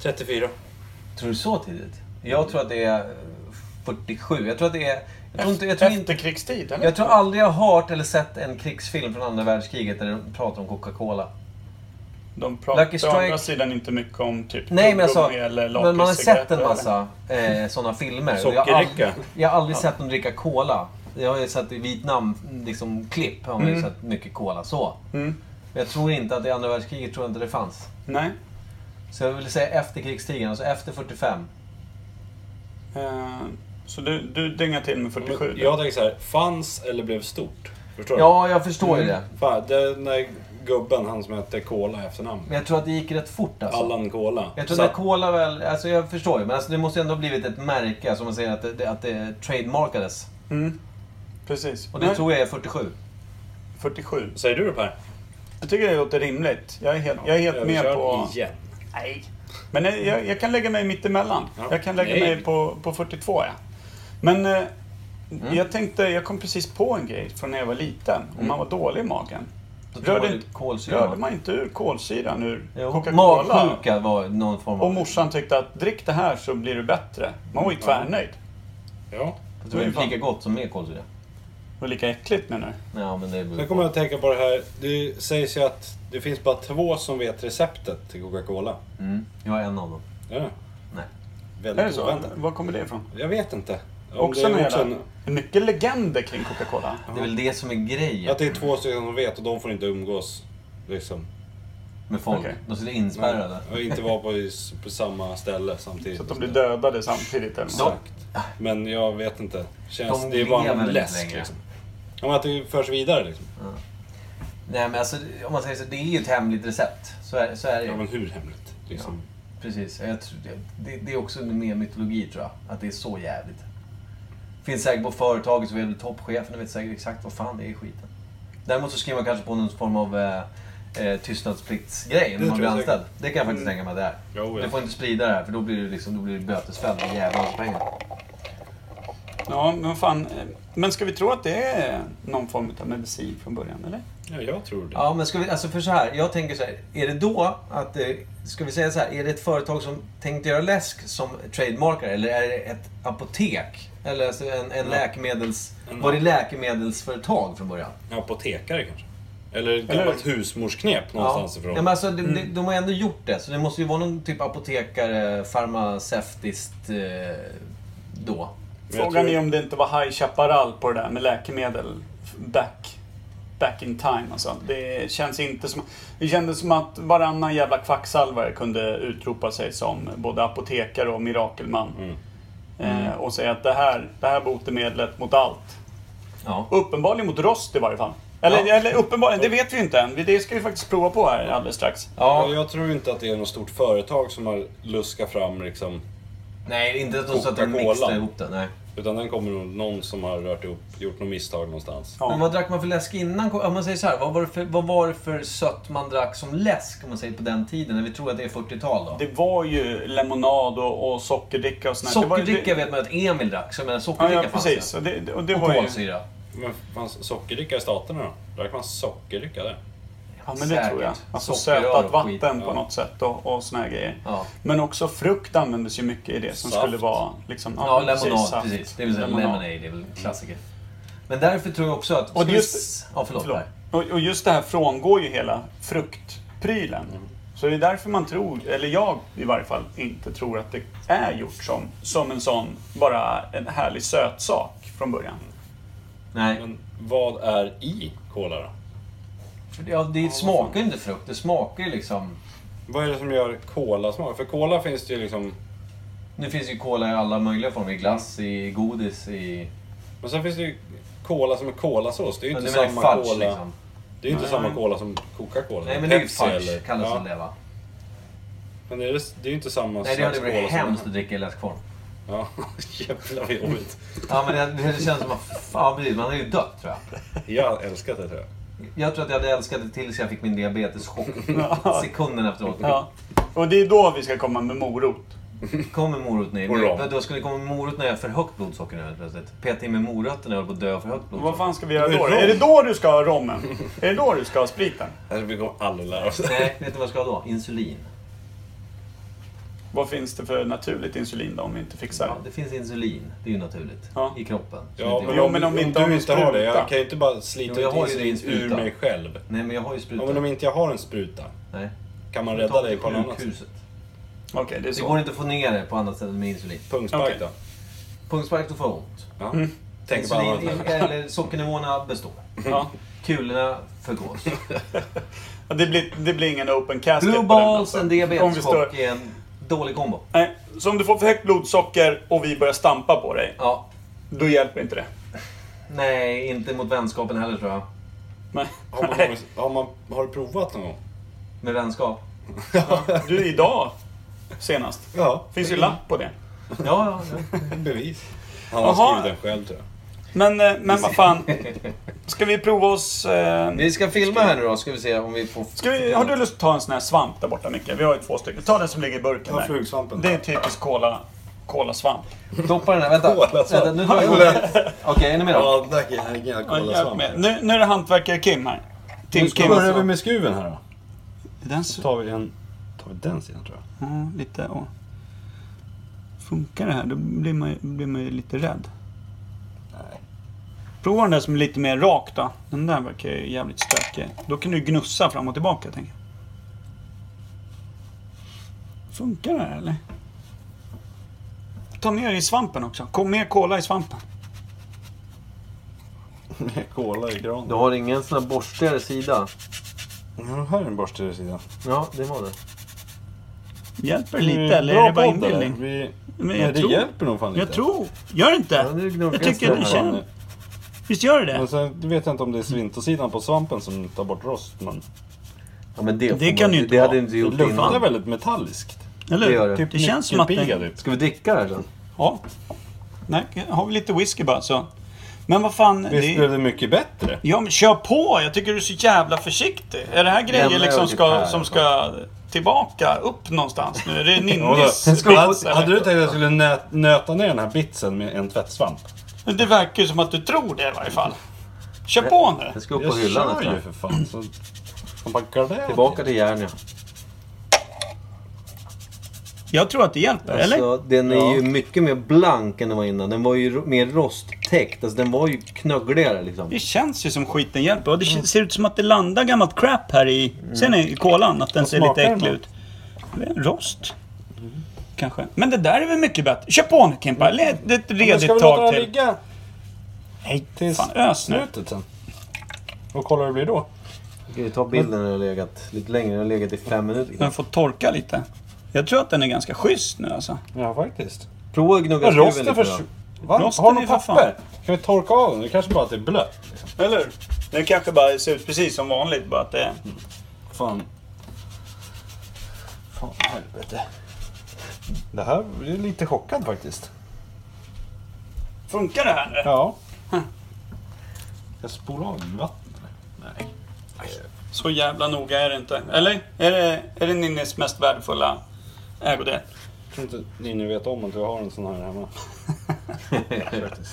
34.
tror du så tidigt? Jag tror att det är eh, 47. Jag tror att det är... Jag tror, inte, jag, tror inte,
Efterkrigstid, eller?
jag tror aldrig jag har hört eller sett en krigsfilm från andra världskriget där de pratar om Coca-Cola.
De pratar
Lucky
å
Strike-
andra sidan inte mycket om typ
Nej men alltså,
tuggummi eller
men man har sett
lakritscigaretter,
en massa eh, sådana filmer. Och Jag har,
Sockerdricka.
aldrig, jag har aldrig sett dem dricka cola. jag har ju sett i Vietnam-klipp liksom, klipp har man ju sett mycket cola så.
Mm.
Men jag tror inte att i andra världskriget tror jag inte det fanns.
Nej.
Så jag vill säga efter krigstiden, alltså efter 45.
Eh, så du, du dyngar till med 47?
Men Jag tänker så här, fanns eller blev stort? Förstår du?
Ja, jag förstår ju
Mm.
det.
Fan, den där gubben, han som hette Cola i efternamn.
Men jag tror att det gick rätt fort alltså.
Allan Cola.
Jag tror
Så
att Cola väl, alltså jag förstår ju, men alltså det måste ju ändå ha blivit ett märke, som man säger att det, det- att det trademarkades.
Mm. Precis.
Och det
Nej,
tror jag är 47.
47.
Säger du det Per?
Jag tycker det låter rimligt. Jag är helt, jag är helt med
Överkörd
på...
igen.
Nej. Men jag- jag, jag kan lägga mig mittemellan.
Ja.
Jag kan lägga
Nej.
mig på, på 42 ja. Men eh,
Mm.
jag tänkte, jag kom precis på en grej från när jag var liten och
Mm.
man var dålig i magen.
Då
Rör
tog man
det
ju
inte-
kolsyra.
Rörde man inte ur kolsyran ur
Jo,
Coca-Cola?
Magsjuka var någon form
Och
av...
morsan tyckte att drick det här så blir du bättre. Man var ju tvärnöjd.
Ja.
Det var ju inte lika gott som med kolsyra.
Det var lika äckligt menar du?
Ja, men det är
Sen kommer jag att tänka på det här. Det sägs ju att det finns bara två som vet receptet till Coca-Cola.
Mm, jag är en av dem.
Ja.
Nej.
Är det
Väldigt
så?
oväntat.
Var kommer det ifrån?
Jag vet inte. Om
Också
det är
med
också
det är mycket legender kring Coca-Cola.
Det är väl det som är grejen
Att det är två stycken som vet och de får inte umgås. Liksom.
med folk.
Okej.
De sitter inspärrade.
Och inte vara på, på samma ställe samtidigt.
Så att de blir dödade samtidigt eller något.
Exakt. Men jag vet inte. Känns,
De
det är bara
lever
en
inte
läsk
längre.
liksom. Ja, men att det förs vidare liksom.
Nej, men alltså, om man säger så, det är ju ett hemligt recept. Så är, så är det
Ja,
ju.
men hur hemligt? Liksom.
Precis. Jag tror, det- det, det är också mer mytologi tror jag. Att det är så jävligt. Finns säkert på företaget så är väl toppchefen vet säkert exakt vad fan det är i skiten. Däremot så skriver man kanske på någon form av eh, eh, tystnadspliktsgrej
Det
när man
tror
blir
jag
anställd. Det kan jag faktiskt tänka mig att det är.
Jo, ja.
Du får inte sprida det här för då blir det, liksom, då blir det bötesfälld med djävulens pengar.
Ja, men vad fan. eh, Men ska vi tro att det är någon form av medicin från början eller?
Ja, jag tror det.
Ja, men ska vi, alltså för så här, jag tänker så här, är det då att, eh, ska vi säga så här, är det ett företag som tänkte göra läsk som trademarkar eller är det ett apotek? Eller alltså en, en läkemedels, var det läkemedelsföretag från början?
Apotekare kanske? Eller ett gammalt husmorsknep någonstans
ja.
ifrån. Mm.
Ja, men alltså, de, de, de har ändå gjort det, så det måste ju vara någon typ apotekare, farmaceutiskt eh, då.
Men jag
Frågan
tror-
är om det inte var High Chaparral på det där med läkemedel back, back in time. Alltså. Det känns inte som... Det kändes som att varannan jävla kvacksalvare kunde utropa sig som både apotekare och mirakelman.
Mm.
Eh, och säga att det här, det här botemedlet mot allt.
Ja.
Uppenbarligen mot rost i varje fall. Eller,
Ja.
eller uppenbarligen, det vet vi ju inte än. Det ska vi faktiskt prova på här alldeles strax.
Ja,
ja.
jag tror inte att det är något stort företag som har luskat fram liksom.
Nej, inte att de satt och mixade
Coca-Cola.
ihop det. Nej.
Utan den kommer nog någon som har rört ihop, gjort något misstag någonstans.
Ja.
Men vad drack man för läsk innan? Om man säger så här, vad var, det för, vad var det för sött man drack som läsk om man säger på den tiden? När vi tror att det är 40-tal då.
Det var ju lemonad och, och sockerdricka och sånt där. Det var ju-
Sockerdricka vet man att Emil drack, så jag menar
Ja,
sockerdricka
ja
fanns
precis.
det.
Och det, och det
Och
var ju...
kolsyra.
Men fanns sockerdricka i staterna då? Drack man sockerdricka där?
Ja, men det
Säkert.
tror jag. Alltså
Sockerrör
sötat
och skit,
vatten på
ja.
något sätt och, och såna här grejer.
Ja.
Men också frukt användes ju mycket i det som
Saft.
skulle vara liksom...
Ja,
men
lemonad.
saft,
Precis, Det vill säga
lemonad.
lemonade är väl en klassiker. Men därför tror jag också att...
Och
ska
just-
vi- Ja, förlåt.
Förlåt.
Per.
Och, och just det här frångår ju hela fruktprylen.
Mm.
Så det är därför man tror, eller jag i varje fall, inte tror att det är gjort som, som en sån, bara en härlig sötsak från början.
Mm. Nej.
Men vad är i cola då?
För det- Ja, det smakar ju inte frukt. Det smakar ju liksom...
Vad är det som gör colasmak? För cola finns det ju liksom...
Nu finns ju cola i alla möjliga former. I glass, i godis, i...
Men sen finns det ju cola som är colasås. Det är ju
Men
inte
du menar
samma
fudge
cola.
liksom.
Det är ju inte samma cola som Coca-Cola.
Nej, men det är ju
Pepsi eller-
fudge, kallas
Ja.
det va?
Men är det, det är ju inte samma
Nej, det hade varit
som-
hemskt att dricka i läskform.
Ja, jävlar vad jobbigt.
Ja, men det, det känns som att... Fan, precis. Man hade ju dött, tror jag.
Jag har älskat det tror jag.
Jag tror att jag hade älskat det tills jag fick min diabeteschock. Sekunden efteråt.
Ja. Och det är då vi ska komma med morot.
Kommer moroten i?
Och rom.
Men Då skulle det komma morot när jag har för högt blodsocker nu helt plötsligt. Peta in med morötter när jag håller på att dö av för högt
Vad
blodsocker.
fan ska vi göra då?
Rom.
Är det då du ska ha rommen? Är det då du ska ha spriten?
Alltså, vi kommer aldrig lära oss det.
Nej, vet du vad jag ska ha då? Insulin.
Vad finns det för naturligt insulin då om vi inte fixar
Ja,
det?
det finns insulin. Det är ju naturligt.
Ja.
I kroppen. Så det
Ja,
är
men
inte-
Jo,
om,
men om
om
inte har
du
en
inte har det,
spruta.
jag kan ju inte bara slita
Jo, jag har
ut
ju din
insulin ur
spruta.
mig själv.
Nej, men jag har ju
Ja,
spruta.
men om inte jag har en spruta,
Nej.
kan man
Ta
rädda
det
dig på något annat sätt?
sjukhuset.
Okej, det är
Det
så.
går inte att få ner det på annat sätt än med insulin.
Pungspark
Okej.
då?
Mm.
Punktspark, då får jag ont.
Ja. Tänker bara vad
Insulin, eller sockernivåerna består.
Ja.
Kulorna förgås.
Ja, Det blir, det blir ingen open casket
Blue
på den,
balls,
alltså.
en
Om vi står-
diabeteschock är en dålig kombo.
Nej, så om du får för högt blodsocker och vi börjar stampa på dig,
Ja.
då hjälper inte det.
Nej, inte mot vänskapen heller tror jag.
Nej.
har, man,
Nej.
någonsin- har, man, har du provat någon gång?
Med vänskap.
Du, idag senast.
Ja,
finns ju lapp på det.
Ja, ja, ja.
bevis. Han har
Jaha.
skrivit den själv tror jag.
Men, eh, men vad fan. Ska vi prova oss... Eh,
Vi ska filma här nu då, ska vi se om vi får...
ska vi, har du lust att ta en sån här svamp där borta Micke? Vi har ju två stycken. Ta den som ligger i burken
Ta
där.
flugsvampen.
Det är typisk cola, colasvamp.
Doppa den här, vänta.
Kola,
alltså.
så.
vänta nu drar jag igång. Okej, är ni med då?
Ja, tack. Herregud,
Ja, hjälp
kolasvamp.
mig. Nu, nu är det hantverkare Kim här. Tim
Nu ska
Kim.
vi börja vi med skruven här då.
Den
Så
så...
tar vi en... Tar vi den sidan tror jag.
Ja, lite... Åh. Funkar det här, då blir man, ju- blir man ju lite rädd.
Nej.
Prova den där som är lite mer rak då. Den där verkar ju jävligt stökig. Då kan du gnussa fram och tillbaka tänker jag. Funkar det här eller? Ta ner i svampen också. Kom mer kola i svampen.
Kola i granen.
Du har ingen sån här borstigare sida?
Ja, här är en borste i sidan.
Ja, det var det.
Hjälper det
Mm,
lite eller är
bra
det bara
podd,
inbillning?
eller? Vi...
Men
Nej,
jag
det
tror-
hjälper nog fan inte.
Jag tror... Gör det
Ja,
inte?
nu gnuggas
Jag tycker
det
det
här.
känns... Visst gör det
Men
det?
sen vet jag inte om det är svintersidan på svampen som tar bort rost. Men
Ja, men det, får
Det kan ju inte
Det
vara.
hade inte
det
gjort
luktar
innan.
väldigt metalliskt.
Eller
det gör det.
hur? Det känns som att
Nyckelpiga,
det...
typ.
Ska vi dricka det här sen?
Ja. Nej, har vi lite whisky bara så. Men vad fan...
Visst
det-
blev det mycket bättre?
Ja men kör på! Jag tycker du är så jävla försiktig. Är det här grejer
Lämna
liksom
över till Per,
ska, som ska tillbaka upp någonstans nu? Är det Ninnis bits,
Hade,
eller?
hade du tänkt att jag skulle nö, nöta ner den här bitsen med en tvättsvamp?
Det verkar ju som att du tror det i varje fall. Kör på nu!
Det ska upp på
Jag
hyllan
kör
efter det
ju
här.
för fan. Så, så bara gardera
Tillbaka
till.
till Järnia.
Jag tror att det hjälper, eller?
Alltså, den är ju mycket mer blank än den var innan. Den var ju ro- mer rosttäckt. Alltså, den var ju knöggligare liksom.
Det känns ju som skiten hjälper. Och det ser ut som att det landar gammalt crap här i... Ser ni i kolan att den ser lite
smakar den
äcklig
då?
ut? Det är en Rost? Kanske. Men det där är väl mycket bättre? Kör på nu Kimpa! Det är ett
Mm. Men ska
redigt
vi låta
tag
den
till.
ligga
Nej,
tills
fan ös nu.
slutet sen? Och kolla hur det blir då.
Ska vi ta bilden när den har legat lite längre? Den har legat i fem minuter.
Den får torka lite. Jag tror att den är ganska schysst nu alltså.
Ja, faktiskt.
Prova att gnugga
Men
skruven
rosten
lite då.
försvinner. Va?
Rosten
Har
är
du
för fan-
papper? Kan vi torka av den? Det kanske bara att det är blött.
Eller Den kanske bara ser ut precis som vanligt bara att det...
Fan. Fan helvete. Det här jag är lite chockad faktiskt.
Funkar det här nu?
Ja. Jag spolar av vattnet. Nej.
Så jävla noga är det inte. Eller? Är det, är det Ninnis mest värdefulla ägodel?
Jag tror inte ni nu vet om att jag har en sån här hemma. faktiskt.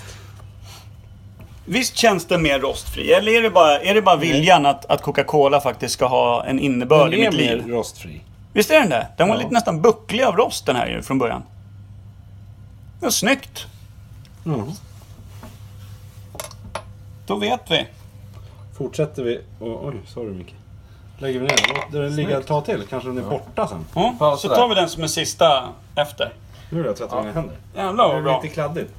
Visst känns den mer rostfri? Eller är det bara, är det bara viljan att, att Coca-Cola faktiskt ska ha en innebörd i mitt liv?
rostfri.
Visst är den det? Den var
Ja.
lite nästan bucklig av rosten här ju från början. Ja, snyggt!
Mm.
Då vet vi.
Fortsätter vi... Oh, oj, sorry Micke. Lägger vi ner den. Låter den ligga ett tag till. Kanske den är borta sen.
Ja,
Pausa
så
där.
tar vi den som en sista efter.
Nu har jag tvättat mina händer.
Jävlar
Det
vad
är
bra.
lite kladdigt.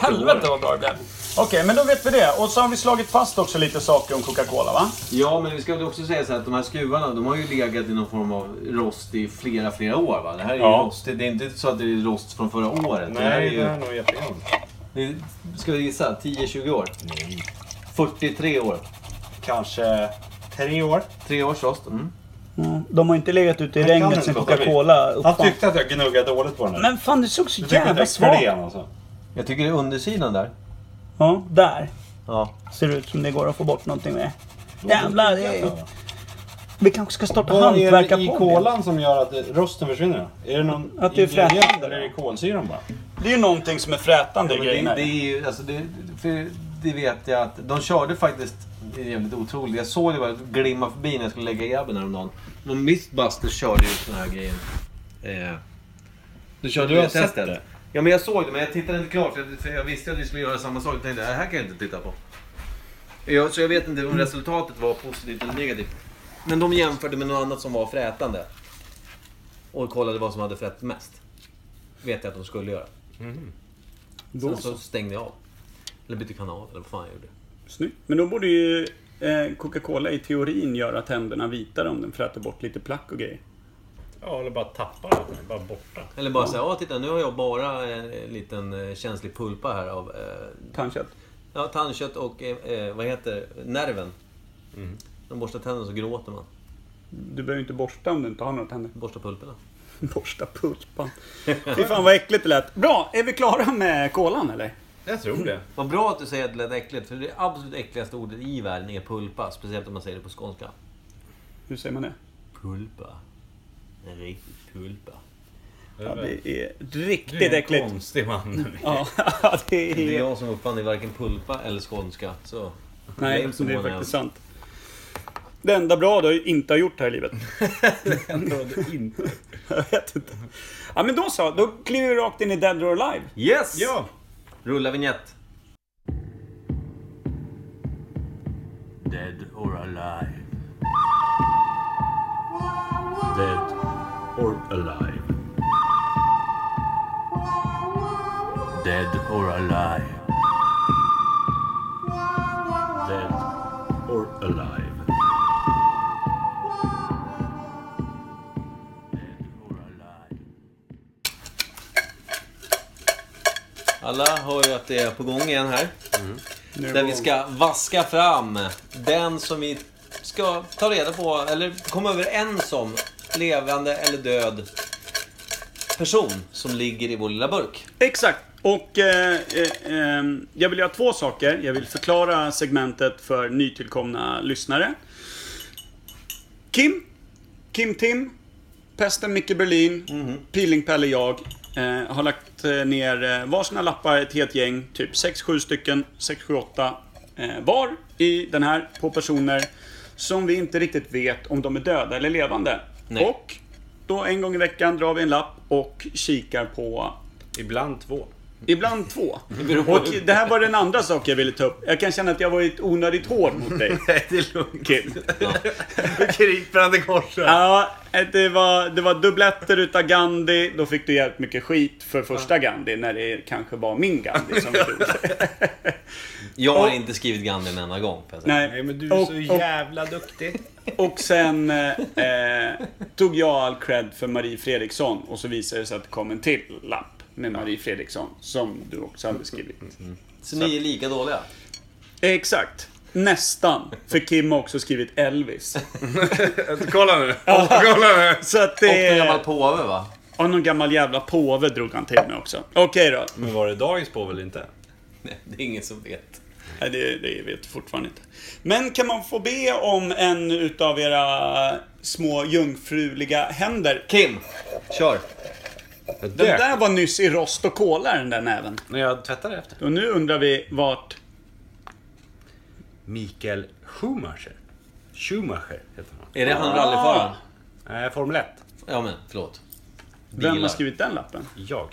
Helvete vad bra det blev. Okej, men då vet vi det. Och så har vi slagit fast också lite saker om Coca-Cola va?
Ja, men vi ska väl också säga så här att de här skruvarna, de har ju legat i någon form av rost i flera, flera år va? Det här är ju
Ja.
rost. Det är inte så att det är rost från förra året. det här är
Nej, det här är
ju,
nog jättegammalt.
det, ska vi gissa? 10-20 år?
Nej.
43 år.
Kanske tre år.
Tre års rost. Mm.
De har inte legat ute i
kan
regnet
inte
sen
låta bli.
Coca-Cola
Han
uppfanns.
tyckte att jag gnuggade dåligt på den här.
Men fan, det såg så
Du tycker att
jävla
jag är
svagt.
klen alltså?
Jag tycker det är undersidan där.
Ja, där.
Ja.
Ser det ut som det går att få bort någonting med.
Då
Jävlar, det
tycker jag
är...
att jag-
Vi kanske ska starta
Vad är det
hantverkarpodden.
i kolan som gör att det- rosten försvinner? Är det någon
Att det är
ingrediens
frätande,
eller är det
då?
kolsyran bara?
Det är ju någonting som är frätande i
Men det,
grejerna.
det är ju, alltså det, för det vet jag att de körde faktiskt, det är jävligt otroligt. Jag såg det bara glimma förbi när jag skulle lägga i grabben häromdagen. Men Mythbusters körde ju den här Eh, grejen. Eh, du körde
Du har
det
sett
testet.
det?
Ja men jag såg det men jag tittade inte klart för jag- för jag visste att vi skulle göra samma sak. Jag tänkte det här kan jag inte titta på. Jag, så jag vet inte om resultatet var positivt eller negativt. Men de jämförde med något annat som var frätande. Och kollade vad som hade frätt mest. Vet jag att de skulle göra. Sen så stängde jag av. Eller bytte kanal, eller vad fan jag gjorde.
Snyggt. Men då borde ju eh, Coca-Cola i teorin göra tänderna vitare om den fräter bort lite plack och grejer.
Ja, eller bara tappa det. Bara borta.
Eller bara säga, ja titta nu har jag bara en, en liten eh, känslig pulpa här av eh,
Tandkött.
Ja, tandkött och eh, eh, vad heter det? nerven.
Mm.
När man borstar tänderna så gråter man.
Du behöver ju inte borsta om du inte har några tänder.
Borsta pulperna.
Borsta pulpan. Fy fan vad äckligt det lät. Bra, är vi klara med kolan eller?
Jag tror det.
Vad bra att du säger att det lät äckligt, för det absolut äckligaste ordet i världen är pulpa. Speciellt om man säger det på skånska.
Hur säger man det?
Pulpa. En riktig pulpa.
Ja, det är
Du
riktigt
är en
äckligt.
konstig man.
Ja,
Det
det
är
är...
jag som uppfann det, varken pulpa eller skånska. Så...
Nej,
blame
det är
someone
faktiskt
else.
sant. Det enda bra du inte har gjort här i livet.
inte.
Jag vet inte. Ja, men då så. Då kliver vi rakt in i Dead or Alive.
Yes!
Ja!
Rulla vignett. Dead or alive.
Dead or alive.
Dead or alive.
Dead or alive.
Alla hör ju att det är på gång igen här.
Nu är
Där
det
vi
igång.
ska vaska fram den som vi ska ta reda på, eller komma överens om, levande eller död person som ligger i vår lilla burk.
Exakt. Och eh, eh, ehm, jag vill göra två saker. Jag vill förklara segmentet för nytillkomna lyssnare. Kim, Kim Tim, Pesten Micke Berlin, Peeling Pelle jag eh, har lagt eh, ner eh, varsina lappar, ett helt gäng, typ 6-7 stycken, 6-7-8 eh, var i den här på personer som vi inte riktigt vet om de är döda eller levande.
Nej.
Och då en gång i veckan drar vi en lapp och kikar på
Ibland två.
Ibland två. Och det här var den andra saken jag ville ta upp. Jag kan känna att jag varit onödigt hård mot dig.
Nej, det är lugnt.
Kim.
Nu kryper han i korset.
Ja, eh, det var, det var dubbletter utav Gandhi. Då fick du jävligt mycket skit för första Gandhi, när det kanske var min Gandhi som du
Jag har inte skrivit Gandhi en enda gång. kan jag säga.
Nej, men du är
och,
så
och,
jävla duktig.
och sen eh, eh, tog jag all cred för Marie Fredriksson och så visade det sig att det kom en till lapp med Marie Fredriksson som du också hade skrivit.
Så ni är lika dåliga.
Exakt. Nästan. För Kim har också skrivit Elvis.
Kolla nu. Kolla nu.
Så
Och
att
en
det...
gammal påve va?
Ja, någon gammal jävla påve drog han till med också. Okej då.
Men var det dagens på eller inte?
Nej, det är ingen som vet.
Nej, det, det vet jag fortfarande inte. Men kan man få be om en utav era små jungfruliga händer?
Kim, kör.
Den där var nyss i rost och kola den där näven.
När jag tvättade efter.
Och nu undrar vi vart...
Mikael Schumacher. Schumacher heter han.
Är det han rallyföraren?
Nej, Formel 1.
Ja men, förlåt.
Vem
Bilar.
har skrivit den lappen?
Jag.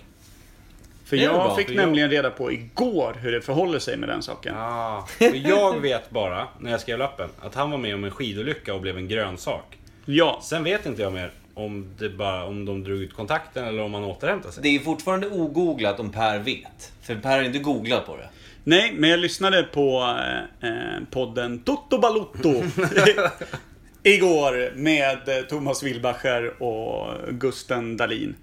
För
Det är
jag
bra,
fick
för jag-
nämligen reda på igår hur det förhåller sig med den saken.
Ah. för Jag vet bara, när jag skrev lappen, att han var med om en skidolycka och blev en grönsak.
Ja.
Sen vet inte jag mer om, det bara, om de drog ut kontakten eller om han återhämtade sig.
Det är fortfarande ogooglat om Per vet. För Per har inte googlat på det.
Nej, men jag lyssnade på eh, eh, podden Toto Balotto igår med eh, Thomas Wilbacher och Gusten Dahlin.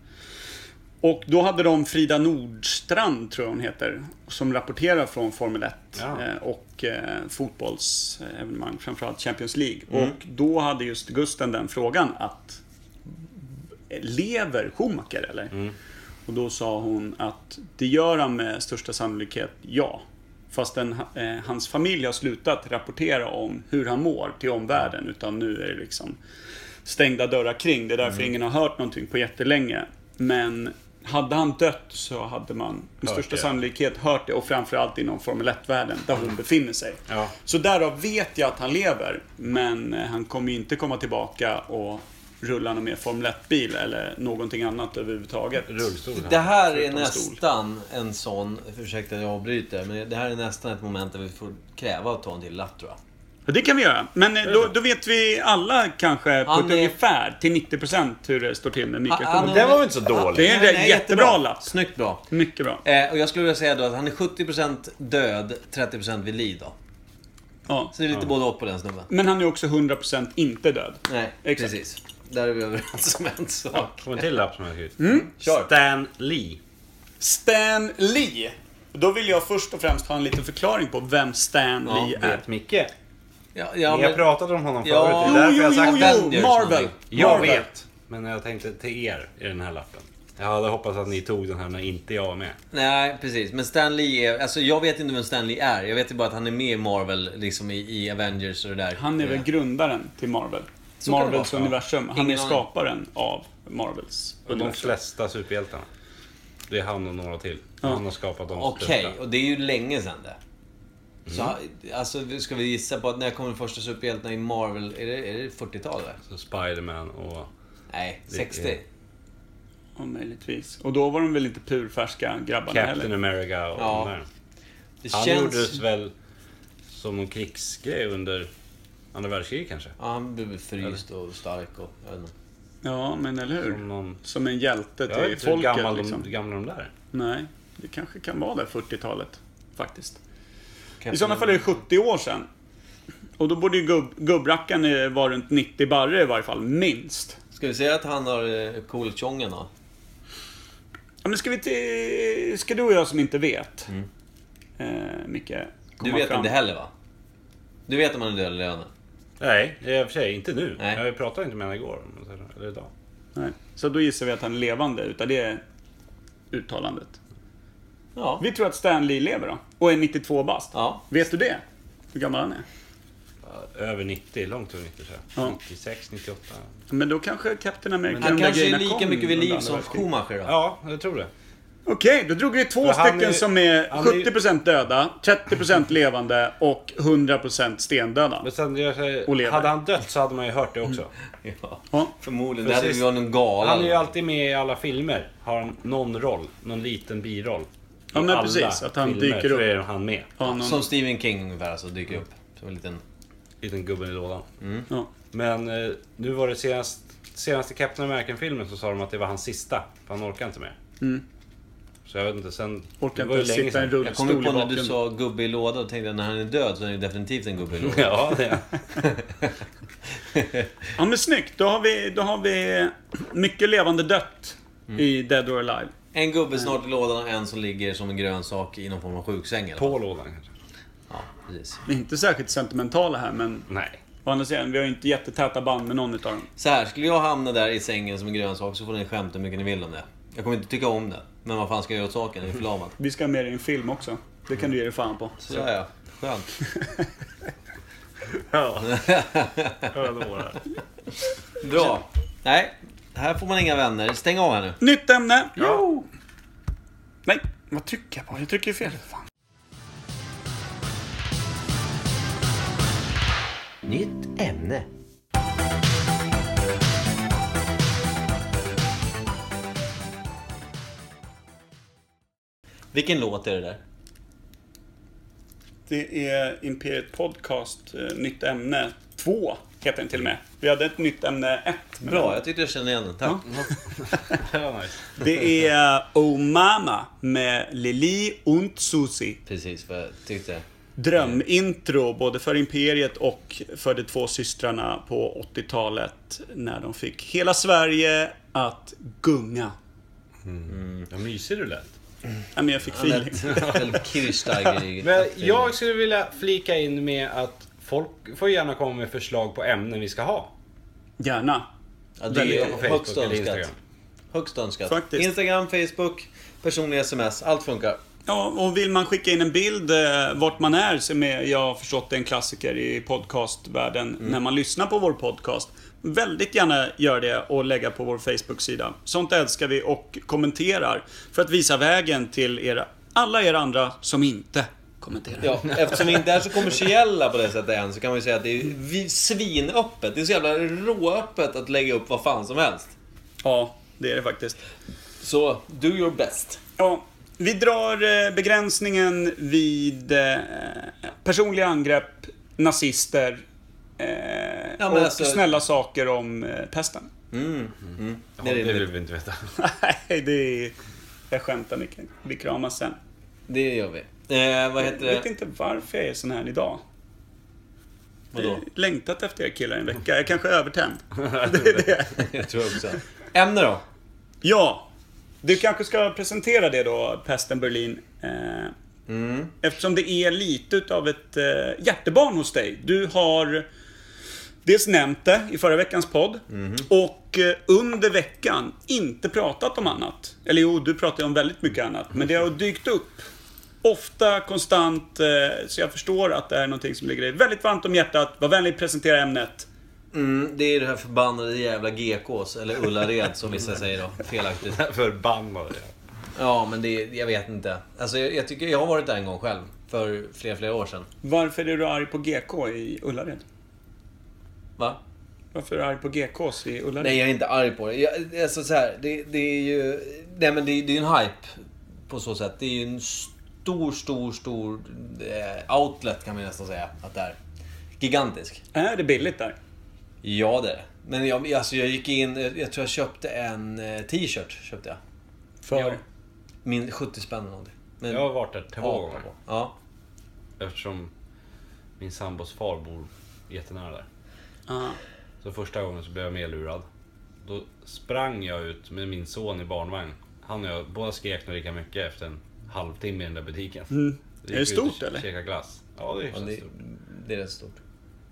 Och då hade de Frida Nordstrand, tror jag hon heter, som rapporterar från Formel 1
Ja.
eh, och eh, fotbollsevenemang, framförallt Champions League. Och då hade just Gusten den frågan att lever Schumacher eller?
Mm.
Och då sa hon att det gör han med största sannolikhet ja. Fastän eh, hans familj har slutat rapportera om hur han mår till omvärlden. Utan nu är det liksom stängda dörrar kring. Det är
Mm.
därför ingen har hört någonting på jättelänge. Men hade han dött så hade man med
Hört
största
det. Mm.
sannolikhet hört det. Och framförallt inom Formel 1-världen där hon befinner sig.
Ja.
Så därav vet jag att han lever. Men eh, han kommer ju inte komma tillbaka och rulla någon mer Formel 1-bil eller någonting annat överhuvudtaget.
Rullstol.
Det här är
Förutom stol.
nästan en sån, ursäkta att jag avbryter, men det här är nästan ett moment där vi får kräva att ta en till lapp tror jag.
Ja, det kan vi göra. Men eh, då, då vet vi alla kanske på
Han
ett
är- Ah,
ungefär till 90% hur det står till med Mikael
Han-
Sjöberg.
Den var väl inte så dålig?
Det är en
Nej,
jättebra,
nej,
jättebra lapp.
Snyggt bra.
Mycket bra.
Eh, och jag skulle vilja säga då att han är 70% död, 30% vid liv då.
Ja.
Så det är lite både och på den snubben.
Men han är också 100% inte död.
Nej,
Exakt.
precis. Där är vi överens om en sak.
Får en till lapp som jag har skrivit.
Mm.
Stan Lee.
Stan Lee. Då vill jag först och främst ha en liten förklaring på vem Stan
Ja,
Lee är.
Vet Micke?
Ja, ja,
Ni har
men,
pratat om honom
Ja.
förut.
Jo,
Det är därför
jo,
jag har
jo,
sagt
Avengers
jo! Marvel!
någonting.
Jag
Marvel.
vet. Men jag tänkte till er i den här lappen. Jag hade hoppats att ni tog den här när inte jag var med.
nej, precis. Men Stan Lee är... Alltså jag vet inte vem Stan Lee är. Jag vet ju bara att han är med i Marvel, liksom i, i Avengers och det där.
Han är väl grundaren till Marvel.
Så kan det
Marvels
vara.
universum. Han
Ingen
är
aning.
skaparen av Marvels
Och de
universum.
flesta superhjältarna. Det är han och några till. Han har skapat de
Okej,
största. Mm.
och det är ju länge sedan det. Så, alltså, ska vi gissa på att när kommer den första superhjältarna i Marvel? Är det, är det 40-tal eller?
Så Spiderman och...
Nej,
Det
60.
är-
Ja, möjligtvis. Och då var de väl inte purfärska grabbarna
Captain
heller.
America och
Ja.
de där.
Det
Han
känns...
gjordes väl som någon krigsgrej under andra världskriget kanske?
Ja, han blev fryst och stark och... Jag vet inte.
Ja, men eller hur?
Som någon...
Som en hjälte
Jag vet
till
inte hur
folket.
gammal
liksom.
de, gamla de där är.
Nej, det kanske kan vara det 40-talet faktiskt. I
Captain
sådana fall är det 70 år sedan. Och då borde ju gubb, gubbrackaren eh, vara runt 90 barre i varje fall, minst.
Ska vi säga att han har eh, cool tjongen då?
Ja, men ska, vi till, ska du och jag som inte vet,
Mm.
eh, Micke,
Du
komma
vet
fram.
inte heller va? Du vet om han är död eller levande?
Nej, i och för sig inte nu.
Nej.
Jag pratade inte med henne igår. Eller idag.
Nej. Så då gissar vi att han är levande utav det uttalandet.
Ja.
Vi tror att Stan Lee lever då, och är 92 bast.
Ja.
Vet du det? Hur gammal han är?
Över 90, långt över 90 tror jag.
Ja.
96, 98.
Men då kanske Captain America...
Han
de där
kanske är
grejerna
lika
kom
mycket vid
under
liv
andra
som
världskriget.
Schumacher då?
Ja, jag tror det.
Okej, då drog vi två
För han
stycken
är-
som är
han är-
70% döda, 30% levande och 100% stendöda.
Men sen, jag
Och lever.
säger, hade han dött så hade man ju hört det
Mm.
också.
Ja,
Ja.
Förmodligen.
Precis.
Där hade vi varit någon gala.
Han är ju alltid med i alla filmer. Har han någon roll, någon liten biroll. I
Ja, men
alla
precis, att han dyker
så
upp.
är han med.
Ja, någon,
Som Stephen King ungefär alltså, dyker upp. Som en liten...
Liten gubben i lådan.
ja.
Men eh, nu var det senast, senaste Captain American-filmen så sa de att det var hans sista. För han orkar inte mer. Så jag vet Mm. inte, sen...
Orkar
det var ju
inte
länge
sitta i en
sedan.
Jag kommer
rullstol i
på när du
bakgrunden.
sa gubbe i låda och tänkte att när han är död så är det definitivt en gubbe i låda.
Ja, det.
Ja, men snyggt. Då har vi, då har vi mycket levande dött
Mm.
i Dead or Alive.
En gubbe snart i lådan och en som ligger som en grönsak i någon form av sjuksäng eller?
På lådan kanske.
Ja, precis.
Vi är inte särskilt sentimentala här, men
Nej.
å andra sidan, vi har ju inte jättetäta band med någon utav dem.
Så här, skulle jag hamna där i sängen som en grönsak så får ni skämta hur mycket ni vill om det. Jag kommer inte tycka om det. Men vad fan ska jag göra åt saken? Jag är förlamad.
Mm.
Vi ska ha med dig i en film också. Det kan du ge dig fan på.
Så ja, ja. Skönt.
Ja. Jag lovar.
Bra. Nej, här får man inga vänner. Stäng av här nu.
Nytt ämne! Jo! Nej, vad trycker jag på? Jag trycker ju fel. Fan.
Nytt ämne. Vilken låt är det där?
Det är Imperiet Podcast, eh, nytt ämne 2 heter den till och med. Vi hade ett nytt ämne 1.
Bra, jag tyckte jag kände igen den. Tack.
Det är Oh Mama med Lili und Susi.
Precis vad jag tyckte.
Drömintro både för Imperiet och för de två systrarna på 80-talet när de fick hela Sverige att gunga.
Mm. Vad mysig du lät.
Ja, men jag fick
Han
feeling.
lät väldigt Kirchsteiger i...
Men jag skulle vilja flika in med att folk får gärna komma med förslag på ämnen vi ska ha.
Gärna.
Ja, det är
Eller
ju
på Facebook
högst
eller
önskat.
Instagram.
Högst önskat.
Faktiskt.
Instagram, Facebook, personliga sms. Allt funkar.
Ja, och vill man skicka in en bild eh, vart man är, som är, jag har förstått det är en klassiker i podcastvärlden, när man lyssnar på vår podcast. Väldigt gärna gör det och lägga på vår Facebook-sida. Sånt älskar vi och kommenterar för att visa vägen till era, alla er andra som inte kommenterar.
Ja, eftersom vi inte är så kommersiella på det sättet än så kan man ju säga att det är vi- svinöppet. Det är så jävla råöppet att lägga upp vad fan som helst.
ja det är det faktiskt.
Så, do your best.
Ja, vi drar eh, begränsningen vid eh, personliga angrepp, nazister eh,
Ja, men
och
alltså-
snälla saker om eh, pesten.
Ja,
Det är
det vill
rimligt.
vi inte veta.
Nej, det är... Jag skämtar mycket. Vi kramas sen.
Det gör vi. Eh, vad
Jag
heter
vet
det?
inte varför jag är sån här idag. Eh,
Vadå?
Längtat efter er killar i en vecka. Jag kanske är övertänd. Det är det.
Jag tror också. Ämne då?
Ja, du kanske ska presentera det då, Pesten Berlin. Eh, Eftersom det är lite utav ett eh, hjärtebarn hos dig. Du har dels nämnt det i förra veckans podd och eh, under veckan inte pratat om annat. Eller jo, du pratar ju om väldigt mycket annat, men det har dykt upp. Ofta, konstant, eh, så jag förstår att det är någonting som ligger dig väldigt varmt om hjärtat. Var vänlig, presentera ämnet.
Mm, det är det här förbannade jävla GKs, eller Ullared som vissa säger då. Felaktigt.
Förbannade jag.
Ja, men det, jag vet inte. Alltså, jag, jag, tycker, jag har varit där en gång själv. För flera, flera år sedan.
Varför är du arg på GK i Ullared?
Va?
Varför är du arg på GKs i Ullared?
Nej, jag är inte arg på det. Jag, alltså, så här, det, det är ju... Nej, men det, är- det är ju en hype på så sätt. Det är ju en stor, stor, stor eh, outlet kan man nästan säga att det är. Gigantisk.
Är det billigt där?
Ja, det är det. Men jag, alltså, jag gick in... Jag tror jag köpte en eh, t-shirt. Köpte jag.
För?
Ja. Min 70 spänn eller någonting. Men,
Jag har varit där två
Ja,
gånger.
Ja.
Eftersom min sambos far bor jättenära där.
Ah.
Så första gången så blev jag medlurad. Då sprang jag ut med min son i barnvagn. Han och jag, båda skrek nog lika mycket efter en halvtimme i den där butiken.
Mm. Är det stort, eller?
Käka glass. Ja, det är
Ja,
hyfsat
det,
stort.
det är rätt stort.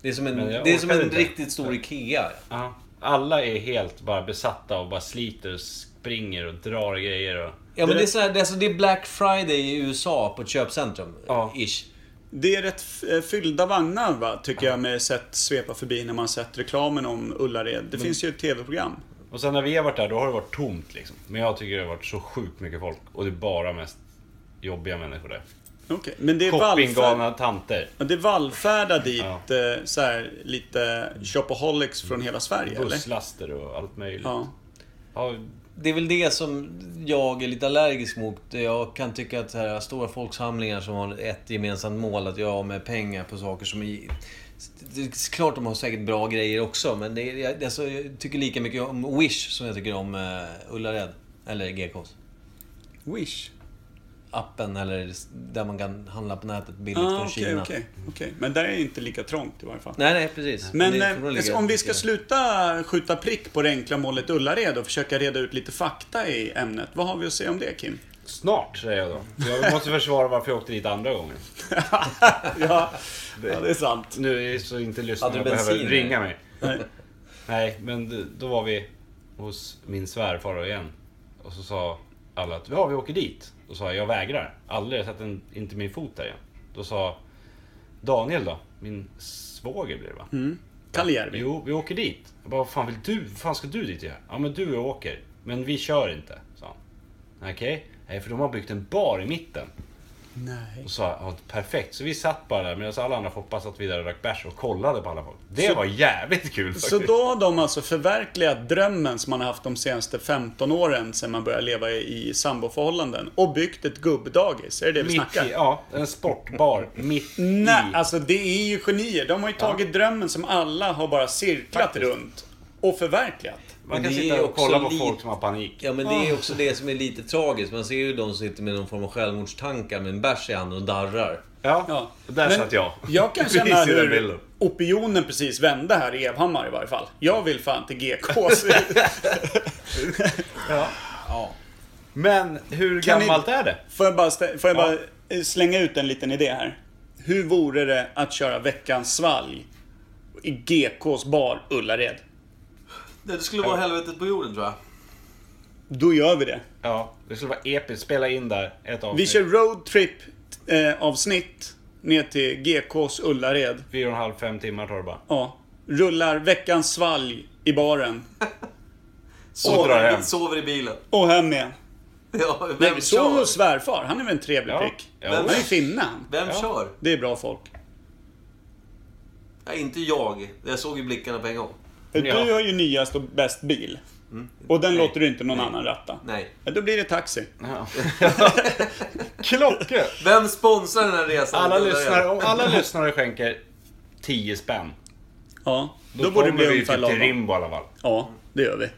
Det är som en,
Men jag
det är som en
orkar inte.
riktigt stor IKEA.
Ja. Alla är helt bara besatta och bara sliter och springer och drar grejer och...
Ja, men det, är så här, det, är alltså, det är Black Friday i USA på ett köpcentrum.
Ja.
Ish.
Det är rätt f- eh, fyllda vagnar va, tycker jag med sett svepa förbi när man sett reklamen om Ullared.
Mm.
Det finns ju ett tv-program.
Och sen när vi har varit där, då har det varit tomt liksom. Men jag tycker det har varit så sjukt mycket folk. Och det är bara mest jobbiga människor där.
Okej, men det är vallfärd...
Shoppinggalna tanter.
Ja, Det är vallfärda dit,
Ja.
eh, så här, lite shopaholics från hela Sverige, eller?
Busslaster och allt möjligt.
Ja.
Ja,
Det är väl det som jag är lite allergisk mot. Jag kan tycka att så här, stora folksamlingar som har ett gemensamt mål, att göra av med pengar på saker som... Är, det är klart de har säkert bra grejer också, men det är, jag, alltså, jag tycker lika mycket om Wish som jag tycker om eh, Ullared. Eller GKs.
Wish.
Appen, eller där man kan handla på nätet billigt
Ah,
från
okej,
Kina.
okej. okej. Men där är det inte lika trångt i varje fall.
Nej, nej, precis.
Men
Det får nog ligga
eh, om vi
lite-
ska sluta skjuta prick på det enkla målet Ullared och försöka reda ut lite fakta i ämnet. Vad har vi att säga om det, Kim?
snart säger jag då. Jag måste försvara varför jag åkte dit andra gången.
ja, ja, det är sant.
Nu är det så inte
Hade
lyssnarna
du
behöver
bensin,
ringa mig.
Nej.
Nej, men d- då var vi hos min svärfar igen. Och så sa alla att ja, vi åker dit. Då sa jag, jag vägrar. Aldrig, jag satte en, inte min fot där igen. Då sa Daniel då, min svåger blir det va?
Kaljärvi.
Jo, vi åker dit. Jag bara, vad fan vill du? Vad fan ska du dit och göra? Ja, men du och jag åker. Men vi kör inte, sa han. Okej? Nej, för de har byggt en bar i mitten.
Nej.
Och sa jag, ja, perfekt. Så vi satt bara där medan alla andra hoppas att vi där och drack bärs och kollade på alla folk. Det
Så-
var jävligt kul faktiskt.
Så då har de alltså förverkligat drömmen som man har haft de senaste 15 åren sedan man började leva i samboförhållanden och byggt ett gubbdagis. Är det det vi
mitt i,
snackar?
ja, en sportbar mitt
Nej,
i.
alltså det är ju genier. De har ju tagit drömmen som alla har bara cirklat
Faktiskt.
runt och förverkligat.
Man
Men
kan
det
sitta
är
och
också
kolla på
lite-
folk som har panik.
Ja, men
Ah.
det är också det som är lite tragiskt. Man ser ju de som sitter med någon form av självmordstankar med en bärs i handen och darrar.
Ja,
Ja.
där
Men
satt jag.
Jag kan
Precis
känna
i den
hur
bilden.
opinionen precis vände här i Evhammar i varje fall. Jag vill fan till GKs.
Men hur
Kan ni-
gammalt är det?
Får jag bara, stä- får jag bara eh, slänga ut en liten idé här? Hur vore det att köra veckans svalg i GKs bar Ullared?
Det skulle vara helvetet på jorden, tror jag.
Då gör vi det.
Ja, det skulle vara episkt. Spela in där ett
Vi
avsnitt.
kör roadtrip eh, avsnitt ner till GKs Ullared.
Fyra och en halv, fem timmar tar det bara.
Ja. Rullar veckans svalg i baren.
Och drar hem.
Sover i bilen.
Och hem igen.
Ja, vem
Nej, vi sov hos svärfar. Han är väl en trevlig
Ja.
prick?
Ja.
Han är ju finne han.
Vem
Ja.
kör?
Det är bra folk.
Ja, inte jag. Jag såg ju blickarna på en gång.
Du har ju nyast och bäst bil. Och den låter du inte någon annan ratta.
Mm. Nej.
Ja, då blir det taxi.
Ja. Klockrent!
Vem sponsrar den här resan?
Alla lyssnare, om alla lyssnare skänker 10 spänn.
Ja,
Då,
då, borde det
kommer
bli
vi ju
ungefär
typ till
lagom.
Rimbo i alla fall.
Ja, det gör vi.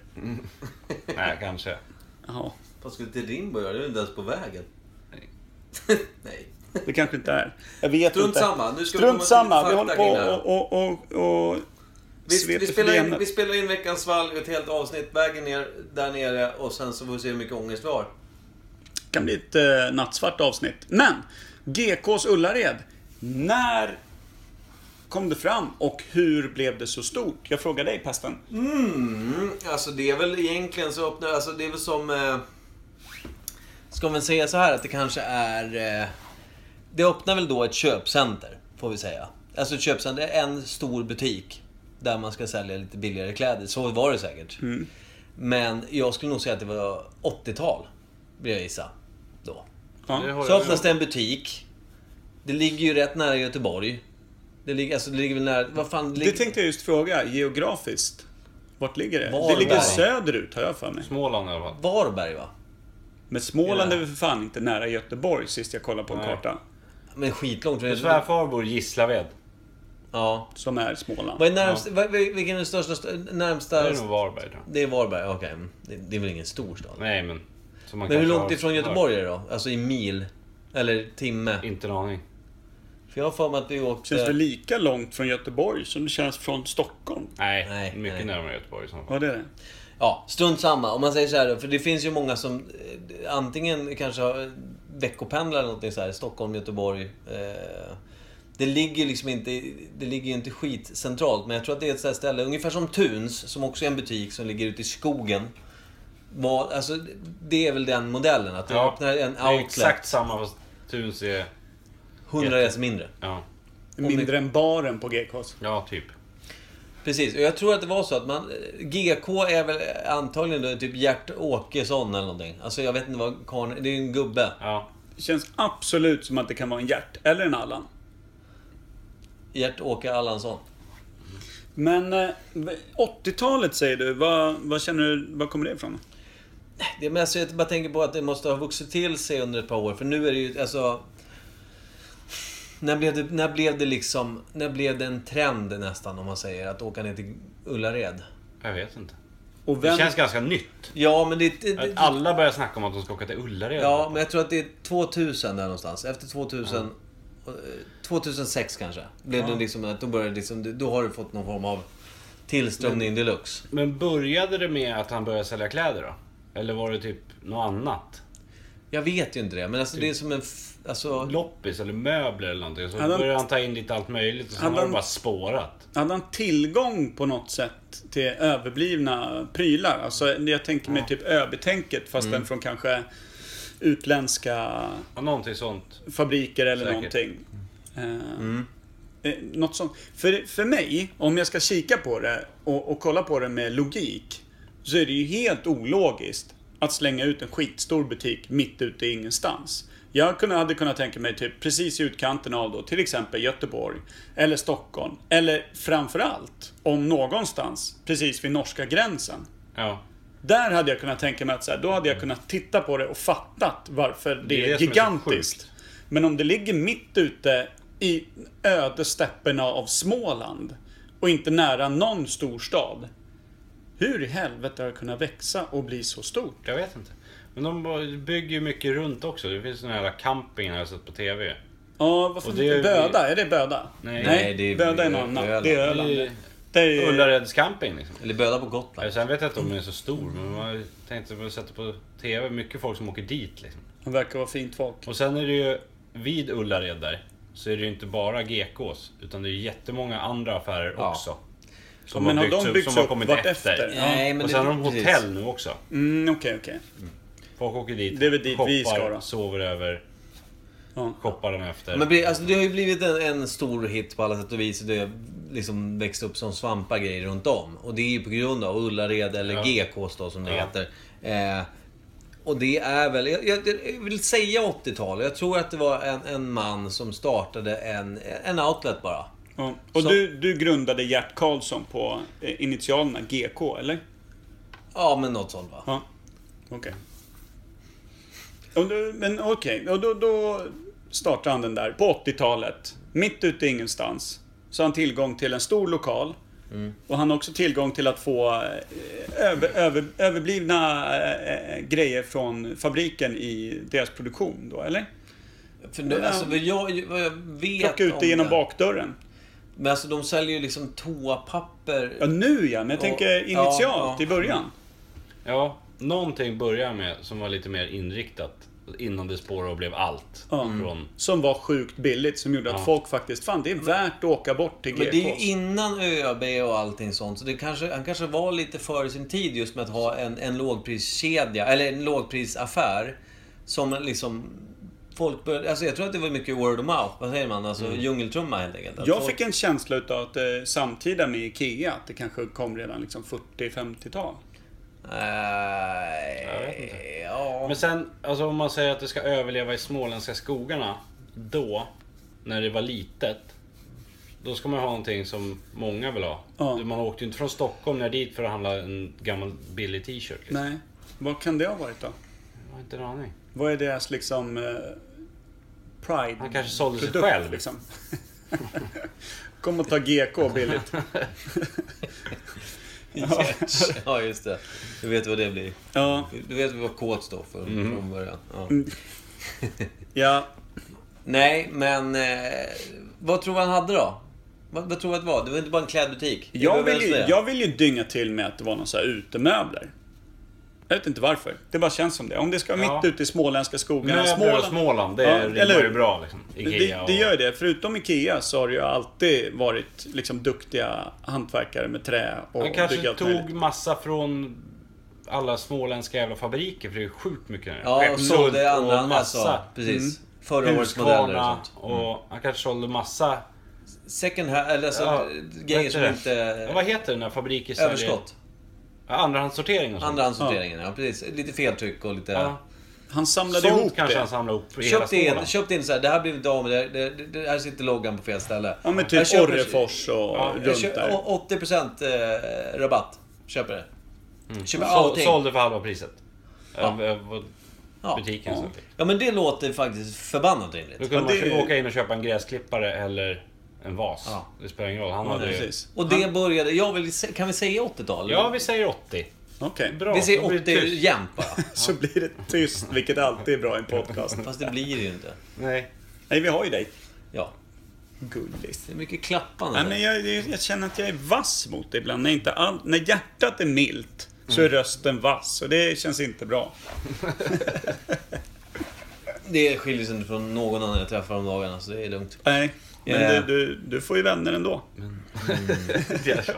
Nej, kanske.
Jaha,
Vad skulle till Rimbo göra? Det är väl inte ens på vägen. Nej.
det kanske inte är. Jag vet
Strunt
inte.
samma, nu ska vi komma
Strunt
till
samma. Vi
fakta
håller på
kring det här.
och... och, och, och
Vi,
sveper
vi, spelar in,
förbi
vi spelar in veckans valg, ett helt avsnitt, vägen ner där nere och sen så får vi se hur mycket ångest vi har.
kan bli ett eh, nattsvart avsnitt. Men! GKs Ullared. När kom det fram och hur blev det så stort? Jag frågar dig Pesten.
Mm, alltså det är väl egentligen så öppnar, alltså det är väl som... Eh, ska man säga så här att det kanske är... Eh, det öppnar väl då ett köpcenter, får vi säga. Alltså ett köpcenter, en stor butik. Där man ska sälja lite billigare kläder. Så var det säkert. Men jag skulle nog säga att det var 80-tal, vill jag gissa. Då.
Det
Ja.
har
Så
jag-
öppnas det en butik. Det ligger ju rätt nära Göteborg. Det ligger, alltså, det ligger väl nära... Vad fan, det
Det
ligger...
tänkte jag just fråga, geografiskt. Vart ligger det?
Varberg.
Det ligger söderut har jag för mig.
Småland i alla fall.
Varberg va?
Men Småland
Ja.
är väl för fan inte nära Göteborg sist jag kollade på en
Nej.
karta.
Men skitlångt.
Min svärfar bor i Gislaved.
Ja.
Som är Småland.
Vad är närmst, vad, vad- vilken är den största... st- Närmsta...
Det är nog Varberg tror jag.
Det är Varberg, okej. Mm. Det, det är väl ingen stor stad?
Nej, men... som man
Men hur
kanske
långt
har-
ifrån Göteborg är det då? Alltså i mil? Eller timme?
Inte en aning.
För jag har för mig att vi åkte...
Känns det lika långt från Göteborg som det känns från Stockholm?
Nej,
Nej,
mycket
nej.
närmare Göteborg i så fall.
Vad är det?
Ja, strunt samma. Om man säger så här då, för det finns ju många som eh, antingen kanske har eh, veckopendlar eller någonting så här. Stockholm, Göteborg. Eh, det ligger liksom inte, i- det ligger ju inte skitcentralt, men jag tror att det är ett sånt här ställe, ungefär som Tuns, som också är en butik som ligger ute i skogen. Var, alltså, det är väl den modellen, att du
Ja,
öppnar en
Det är
outlet,
exakt samma fast Tunis är...
100 resor mindre.
Ja,
Mindre än baren på GKs.
ja typ.
Precis, och jag tror att det var så att man... GK är väl antagligen då typ Gert Åkesson eller någonting. Alltså jag vet inte vad karln... Det är ju en gubbe.
Ja.
Det känns absolut som att det kan vara en Gert eller en Allan.
Gert-Åke Allansson.
Men eh, 80-talet säger du. Vad, vad känner du, vad kommer det ifrån?
Det men alltså, jag bara tänker på att det måste ha vuxit till sig under ett par år. För nu är det ju alltså... När blev det, när blev det liksom... När blev det en trend nästan om man säger att åka ner till Ullared?
Jag vet inte.
Och
Det
vem,
känns ganska nytt.
Ja, men det... det,
Att
det
alla börjar snacka om att de ska åka till Ullared.
ja, men jag tror att det är 2000 där någonstans. Efter 2000... eh, 2006 kanske. Blev det liksom att då började liksom... Då har du fått någon form av tillströmning deluxe.
Men började det med att han började sälja kläder då? Eller var det typ något annat?
Jag vet ju inte det, men alltså det är som en... f- Alltså...
Loppis eller möbler eller någonting. Så
Hade han-
började han ta in lite allt möjligt och sen
Hade
har
han-
det bara spårat.
hade han tillgång på något sätt till överblivna prylar? Alltså, jag tänker mig typ ÖB-tänket
Mm.
fast den från kanske utländska
Ja, någonting sånt.
fabriker eller
Säkert.
någonting. Eh, eh, Något sånt. För, för mig, om jag ska kika på det och, och kolla på det med logik, så är det ju helt ologiskt att slänga ut en skitstor butik mitt ute i ingenstans. Jag kunde, hade kunnat tänka mig typ precis i utkanten av då, till exempel Göteborg, eller Stockholm, eller framförallt, om någonstans, precis vid norska gränsen.
Ja.
Där hade jag kunnat tänka mig att så här, då hade jag kunnat titta på det och fattat varför det,
Det
är,
är det som är så
gigantiskt.
sjukt.
Men om det ligger mitt ute i ödestepperna av Småland och inte nära någon storstad. Hur i helvete har det kunnat växa och bli så stort?
Jag vet inte. Men de bygger ju mycket runt också. Det finns såna här campingar jag har sett på TV.
Ja, vad fan
Och det
heter det?
är-
Böda? Är det Böda?
Nej.
Nej, det är-
Böda är något annat.
Öland.
Det är
Det
Öland.
är
Det är...
Ullareds camping liksom.
Eller böda på Gotland.
Sen vet jag inte om den är så stor, men man tänkte på att sätta på TV. Mycket folk som åker dit liksom.
De verkar vara fint folk.
Och sen är det ju, vid Ullared där, så är det ju inte bara GKs. Utan det är ju jättemånga andra affärer
Ja.
också.
Ja,
Som
men har
har byggts
de
upp,
byggts
som har
upp
kommit
vartefter?
efter.
Nej, men
och
det-
sen har de
precis.
hotell nu också.
Mm, okej, okej.
Folk åker dit,
Det är väl dit vi
shoppar,
ska då.
sover över,
Ja.
shoppar dagen efter.
Men det- alltså, det har ju blivit en, en stor hit på alla sätt och vis. Det har liksom växt upp som svampar grejer runt om. Och det är ju på grund av Ullared, eller
Ja.
GKs då som det
Ja.
heter. Eh, och det är väl, jag, jag, jag vill säga 80-tal. Jag tror att det var en, en man som startade en, en outlet bara.
Ja. Och
Så-
du, du grundade Gert Karlsson på eh, initialerna GK, eller?
Ja, men något sånt va.
Ja. Okej. Och du- Men okej, och då, då startade han den där på 80-talet. Mitt ute i ingenstans. så har han tillgång till en stor lokal. Och han har också tillgång till att få eh, över, över, överblivna eh, eh, grejer från fabriken i deras produktion då, eller?
För nu, alltså, vad jag, vad jag vet
Plocka ut
om
det genom
den-
bakdörren.
Men alltså de säljer ju liksom toapapper.
Ja, nu ja, men jag
Och-
tänker initialt
ja, ja.
i början.
Ja, någonting började med som var lite mer inriktat. Innan det spårade och blev allt.
Ja. Mm.
Från,
Som var sjukt billigt, som gjorde att
Ja.
folk faktiskt fan, det är värt att åka bort till
Men det är ju
GKs.
innan ÖAB och allting sånt. Så det kanske, han kanske var lite före sin tid just med att ha en, en lågpriskedja, eller en lågprisaffär. Som liksom... Folk började, alltså jag tror att det var mycket word of mouth. Vad säger man? Alltså djungeltrumma helt enkelt. Att
Mm. Jag
folk-
fick en känsla utav att eh, samtida med IKEA, att det kanske kom redan liksom 40-50-tal.
Nej...
Jag vet inte.
Ja.
men sen, alltså om man säger att det ska överleva i småländska skogarna. Då, när det var litet. Då ska man ha någonting som många vill ha.
Ja.
Man åkte ju inte från Stockholm ner dit för att handla en gammal billig t-shirt. Liksom.
Nej. Vad kan det ha varit då?
Jag har inte en aning.
Vad är deras liksom eh, pride?
Han kanske sålde sig
produkt,
själv.
Liksom. Kom och ta GK billigt. ja.
ja, just det. Du vet vad det blir.
Ja.
Du vet vad kåt står för
Mm.
från början. Ja.
ja.
Nej, men... Eh, vad tror du han hade då? Vad, vad tror du att det var? Det var inte bara en klädbutik? Vi
Jag,
behöver
vill ju,
ens det.
jag vill ju dynga till med att det var någon så här utemöbler. Jag vet inte varför. Det bara känns som det. Om det ska vara
Ja.
mitt ute i småländska skogarna.
Möbler och Småland, det
Ja,
rimmar
eller hur?
ju bra liksom.
Det,
Ikea
det
och-
gör ju det. Förutom IKEA så har det ju alltid varit liksom duktiga hantverkare med trä och
Han
bygga
kanske
allt
tog
möjligt.
massa från alla småländska jävla fabriker, för det är sjukt mycket nu.
Ja, och
Skeppshult
sålde
och
andra
massa. Mm.
massa. Precis. Förra årets modeller och
Husqvarna
sånt.
och
Mm.
han kanske sålde massa...
Second hand, eller alltså
Ja,
grejer
vet
som
du det?
inte...
Ja, Vad heter den när fabriker säljer...
överskott.
Ja, andrahandssortering och sånt.
Andrahandssorteringen, ja. precis. Lite feltryck och lite...
Ja.
Han samlade
Sånt
ihop
kanske
det.
han samlade ihop i hela
Köpte in,
Småland.
köpte in så här, det här blev inte av med, det, det, det, det här sitter loggan på fel ställe.
Ja men
Jag
typ
köper-
Orrefors och
jag
runt
köper
där.
80% eh, rabatt. Köper det.
Mm.
Köper
Sål-
allting.
Sålde för halva priset.
Ja.
Över- över
Ja.
Butiken. så.
Ja men det låter faktiskt förbannat rimligt.
Då kunde
Ja,
man
det-
åka in och köpa en gräsklippare eller en vas.
Ja.
Det spelar ingen roll. Han hade ju...
Precis.
Och det började, jag vill, se- kan vi säga 80-tal?
Ja, vi säger 80.
Okej.
Bra.
vi säger
då blir
80
det tyst.
jämt bara.
Så blir det tyst, vilket alltid är bra i en podcast.
Fast det blir det ju inte.
Nej.
Nej, vi har ju dig.
Ja.
Gullis.
Det är mycket klappande.
Nej, men jag, jag jag känner att jag är vass mot det ibland. När, inte all, när hjärtat är milt så
Mm.
är rösten vass och det känns inte bra.
Det skiljer sig inte från någon annan jag träffar om dagarna, så det är lugnt.
Nej, men
Ja.
du, du, du får ju vänner ändå.
Jag tjatar.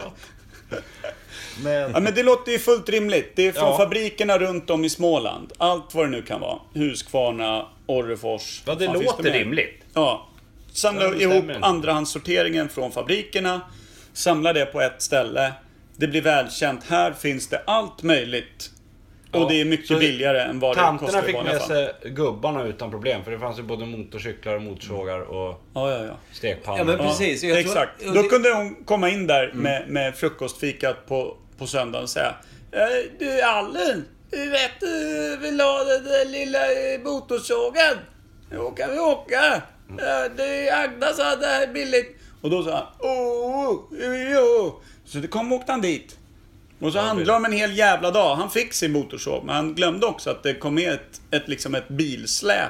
Ja, men det låter ju fullt rimligt. Det är från
Ja.
fabrikerna runt om i Småland. Allt vad det nu kan vara. Huskvarna, Orrefors.
Ja, det
Fan, finns
låter
mer?
rimligt.
Ja. Samla
Ja, det stämmer
ihop
inte.
andrahandssorteringen från fabrikerna. Samla det på ett ställe. Det blir välkänt. Här finns det allt möjligt.
Ja,
Och det är mycket
så
billigare än vad det
Tanterna
kostar i
fick
vanliga
med
fall.
sig gubbarna utan problem, för det fanns ju både motorcyklar och motorsågar och
Ja, ja, ja.
stekpannor.
Ja, men
ja
Precis, jag tror-
exakt.
och
Då
det- Mm.
kunde hon komma in där med, med frukostfikat på, på söndagen och säga "Eh, Du Allen, du vet du vill ha den där lilla eh, motorsågen? Då kan vi åka.
Mm.
Eh, Det är Agda sa att det här är billigt. Och då sa han "Åh, åh, åh." Så det kom och åkte han dit. Och så handlade de en hel jävla dag. Han fick sin motorsåg, men han glömde också att det kom med ett, ett, liksom ett bilsläp.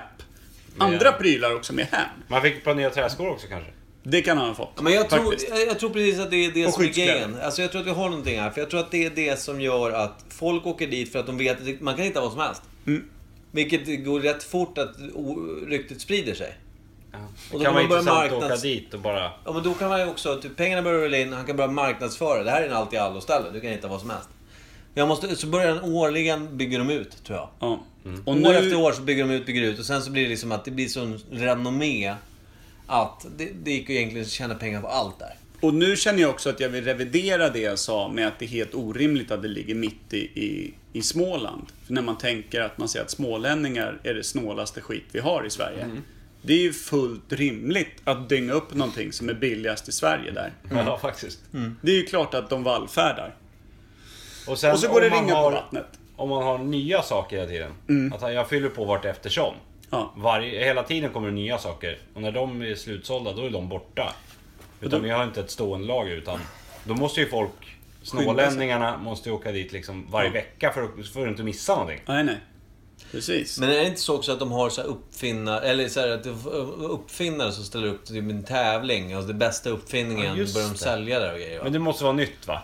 Andra prylar också med hem.
Man fick ett par nya träskor också kanske.
Det kan han ha fått.
Ja, Men jag tror,
faktiskt.
jag jag tror precis att det är det
Och
som är
skyddskläder.
grejen. Alltså jag tror att vi har någonting här. För jag tror att det är det som gör att folk åker dit för att de vet att det- man kan hitta vad som helst.
Mm.
Vilket går rätt fort att o- ryktet sprider sig.
Det
då
kan
kan
vara
man börja
intressant att
marknads-
åka dit och bara...
Ja, men då kan man ju också, typ, pengarna börjar rulla in, han kan börja marknadsföra. Det här är en allt i allo ställe, du kan hitta vad som helst. Jag måste, så börjar den årligen bygger de ut, tror jag.
Ja. Och
År
nu,
efter år så bygger de ut, bygger ut och sen så blir det liksom att det blir sån renommé att det, det gick ju egentligen att tjäna pengar på allt där.
och nu känner jag också att jag vill revidera det jag sa med att det är helt orimligt att det ligger mitt i, i, i Småland. För när man tänker att man säger att smålänningar är det snålaste skit vi har i Sverige. Det är ju fullt rimligt att dynga upp någonting som är billigast i Sverige där.
Ja, faktiskt.
Det är ju klart att de vallfärdar.
sen
Och så
om
går det
man
ringa
har-
på vattnet. Mm.
Om man har nya saker hela tiden. Att jag fyller på vart eftersom.
Ja.
Varje, hela tiden kommer det nya saker. Och när de är slutsålda, då är de borta. Utan vi har inte ett stående lag utan då måste ju folk, smålänningarna måste ju åka dit liksom varje vecka för att, för att inte missa någonting.
Nej, nej. Precis.
Men är det inte så också att de har så här uppfinnare, eller så här att det är uppfinnare som ställer upp till en tävling? Alltså det bästa uppfinningen,
Ja, just
börjar de
det.
sälja där och grejer va?
Men det måste vara nytt va?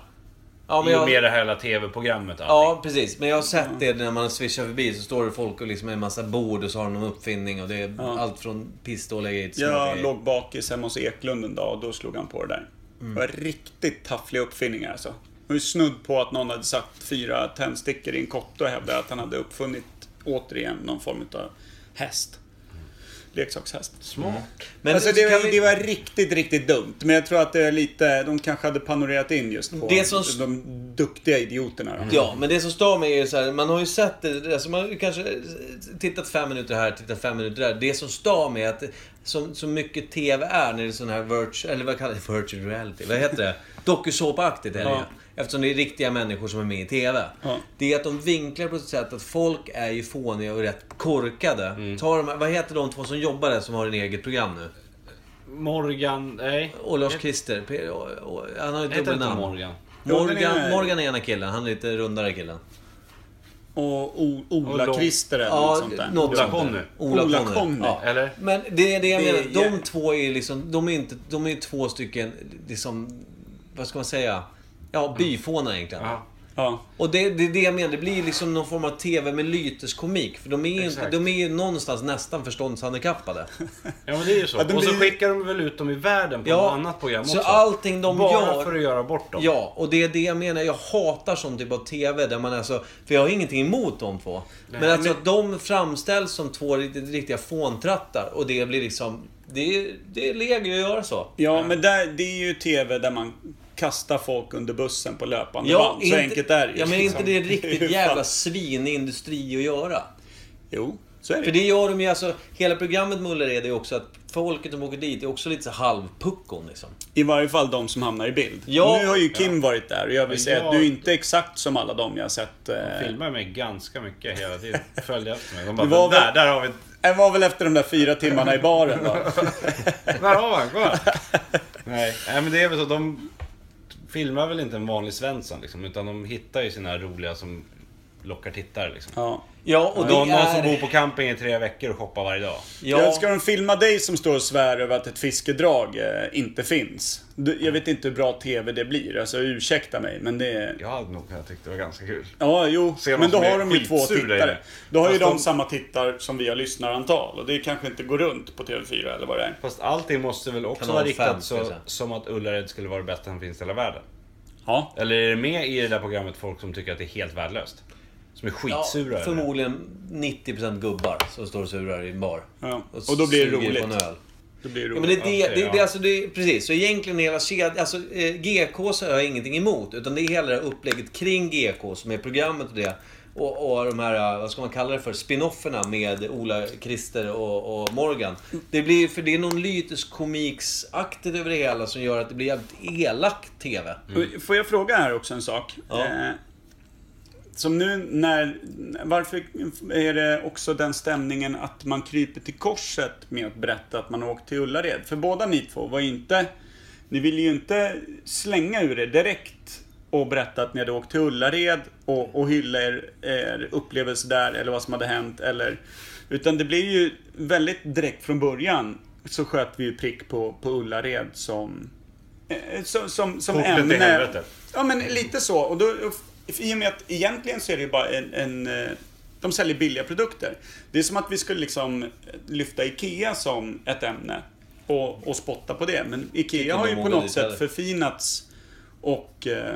ja, men
I och
jag,
med det här hela TV-programmet och allting.
ja, precis. Men jag har sett det när man swishar förbi så står det folk och liksom en massa bord och så har de någon uppfinning och det är
Ja.
allt från pistol och grejer till smarta
Jag
grejer.
låg bakis hemma hos Eklund en dag och då slog han på det där.
Mm.
Det var riktigt taffliga uppfinningar alltså. Det var ju snudd på att någon hade satt fyra tändstickor i en kotte och hävdade att han hade uppfunnit återigen någon form av häst. Leksakshäst.
Smart.
Mm. Men
alltså
så
det,
kan
var,
vi-
det var riktigt, riktigt dumt. Men jag tror att det är lite, de kanske hade panorerat in just på
Det som-
de duktiga idioterna. då.
Ja, men det som stör mig är ju så här, man har ju sett det, alltså man har ju kanske tittat fem minuter här, tittat fem minuter där. Det som stör mig är att så, så mycket TV är när det är sån här virtual, eller vad kallar det, virtual reality, vad heter det? Dokusåpaaktigt är det ju.
Ja.
Eftersom det är riktiga människor som är med i TV.
Ja.
Det är att de vinklar på ett sätt att folk är ju fåniga och rätt korkade.
Mm.
Ta de här, vad heter de två som jobbar där som har en eget program nu?
Morgan, nej.
Och Lars-Christer, P- och- och- han har ju ett
Heter inte
dubbelnamn.
Morgan?
Jo, den
Morgan,
är-
Morgan är ena killen, han är lite rundare killen.
Och O-
Och lång-
Ola-Christer eller något sånt där.
något
Ola
sånt där.
Conny.
Ola,
Ola
Conny.
Conny.
Ja.
Eller?
Men det är det jag
Det är
menar. De
jä-
två är liksom, de är inte, de är två stycken, liksom, vad ska man säga? Ja, byfånar egentligen.
Mm. Ja.
Ja.
Och det, det är det jag menar, det blir liksom någon form av TV med lyteskomik. För de är, ju inte,
Exakt.
de är ju någonstans nästan förståndshandikappade.
Ja men det är ju så.
Ja, de
Och så
blir-
skickar de väl ut dem i världen på
Ja,
något annat program
så
också.
allting de
Bara
gör-
för att göra bort dem.
Ja, och det är det jag menar. Jag hatar sån typ av TV där man alltså... För jag har ingenting emot de två. men alltså att de framställs som två riktigt, riktiga fåntrattar och det blir liksom... Det är, det är legio att göra så.
Ja, men där, det är ju TV där man kastar folk under bussen på löpande band. Så
inte-
enkelt är det ju,
Ja, men är inte
liksom.
det
Hur
riktigt
fan-
jävla svineindustri att göra?
Jo, så är det
För
ju.
det gör de ju alltså... Hela programmet Mullared är ju också att folket som åker dit är också lite så halvpuckon liksom.
I varje fall de som hamnar i bild.
Ja.
Nu har ju Kim varit där och jag vill
Men
säga
jag-
att du är inte exakt som alla de jag har sett. eh,
Filmar mig ganska mycket hela tiden. Följde efter mig. De bara,
Det var
"Den där,
väl-
där har vi...
Det var väl efter de där fyra timmarna i baren va?
Där har man, kolla! Nej. Nej, men det är väl så. De filmar väl inte en vanlig Svensson liksom. Utan de hittar ju sina roliga som lockar tittare liksom.
Ja.
Ja, och det
någon, någon som
är...
bor på camping i tre veckor och shoppar varje dag.
ja,
Ska de filma dig som står och svär över att ett fiskedrag eh, inte finns? Du, jag vet inte hur bra TV det blir, alltså ursäkta mig men det...
Jag hade nog kunnat tyckt det var ganska kul.
Ja, jo.
Ser någon
Men då
som är
har de ju två
skitsur där inne.
tittare. Då har ju
Fast
de
de-
samma tittar som vi har lyssnarantal. Och det kanske inte går runt på TV4 eller vad det är.
Fast allting måste väl också
Kanal
vara
fem,
riktat
ska jag
så,
säga.
som att Ullared skulle vara det bästa som finns i hela världen.
Ja.
Eller är det med i det där programmet folk som tycker att det är helt värdelöst? Som är skitsura?
ja,
över det?
förmodligen 90% gubbar som står och surar i en bar.
Ja, och då blir det
suger på
roligt.
en öl.
Då blir det
Ja, men det,
roligt.
det,
Okej,
det, det,
ja.
alltså, det, precis, så egentligen hela kedjan, alltså eh, GK så har jag ingenting emot. Utan det är hela det här upplägget kring GK som är programmet och det. Och, och de här, eh, vad ska man kalla det för, spinofferna med Ola, Christer och, och Morgan. Det blir, för det är någon lyteskomiksaktigt över det hela som gör att det blir jävligt elakt TV.
Får jag fråga här också en sak?
Ja.
Eh, som nu när... Varför är det också den stämningen att man kryper till korset med att berätta att man har åkt till Ullared? För båda ni två var ju inte... Ni ville ju inte slänga ur er direkt och berätta att ni hade åkt till Ullared och, och hylla er, er upplevelse där eller vad som hade hänt eller... Utan det blev ju väldigt direkt från början så sköt vi ju prick på, på Ullared som... eh, Som, som, som
Kortet i
ämne.
helvetet.
Ja men lite så. Och då, I och med att egentligen så är det ju bara en, en... eh, De säljer billiga produkter. Det är som att vi skulle liksom lyfta IKEA som ett ämne och, och spotta på det. Men IKEA har
de
ju på
vågar
något
dit
sätt
heller.
förfinats och eh,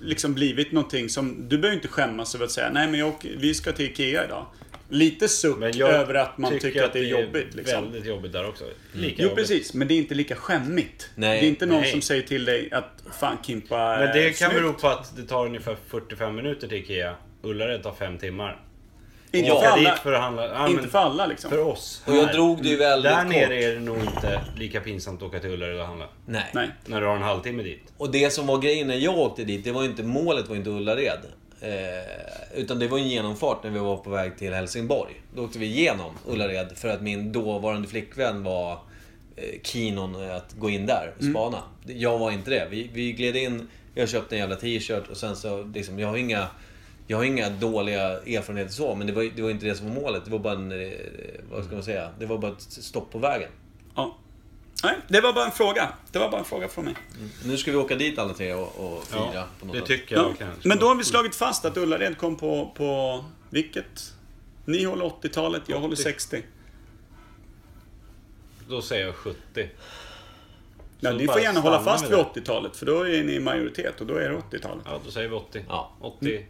liksom blivit någonting som... Du behöver ju inte skämmas över att säga nej men jag, åker- vi ska till IKEA idag. Lite suck
Men jag
över att man tycker, att det är jobbigt. Liksom.
Väldigt jobbigt där också. Lika
Jo
jobbigt.
precis, men det är inte lika skämmigt.
Nej,
det är inte någon
nej.
som säger till dig att fan Kimpa
Men det
eh,
kan
snyggt.
bero på att det tar ungefär 45 minuter till IKEA. Ullared tar 5 timmar.
Inte
Ja,
för
Åka
alla.
dit för att handla. Ja,
inte
men
för alla liksom.
För oss.
Och jag
här.
drog det ju väldigt
Där
kort.
nere är det nog inte lika pinsamt att åka till Ullared och handla.
Nej.
När du har en halvtimme dit.
Och det som var grejen när jag åkte dit, det var ju inte målet var inte Ullared. Eh, utan det var en genomfart när vi var på väg till Helsingborg. Då åkte vi igenom Ullared för att min dåvarande flickvän var eh, keen on eh, att gå in där och spana. Jag var inte det. Vi, vi gled in, jag köpte en jävla t-shirt och sen så liksom, jag har inga jag har inga dåliga erfarenheter så, men det var, det var inte det som var målet. Det var bara en, eh, vad ska man säga, det var bara ett stopp på vägen.
Ja. Nej, det var bara en fråga. Det var bara en fråga från mig.
Nu ska vi åka dit alla tre och, och fira på något
det
sätt. Mm.
tycker jag
Ja.
verkligen.
Men då har vi slagit fast att Ullared kom på, på vilket? Ni håller 80-talet, jag håller 60.
Då säger jag 70.
Ja,
Så
ni
bara
får gärna hålla
stanna
fast
med
vid
det.
80-talet, för då är ni i majoritet och då är det 80-talet.
Ja, då säger vi 80.
Ja.
81.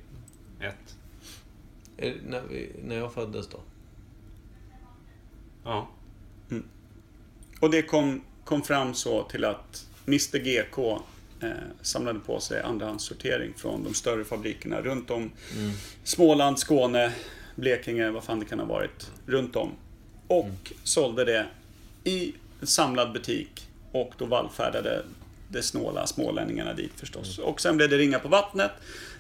Eh, När, vi, när jag föddes då?
Ja.
Och det kom, kom fram så till att Mr GK eh, samlade på sig andrahandssortering från de större fabrikerna runt om Småland, Skåne, Blekinge, vad fan det kan ha varit. Runt om. Och sålde det i en samlad butik och då vallfärdade de snåla smålänningarna dit förstås. Och sen blev det ringa på vattnet.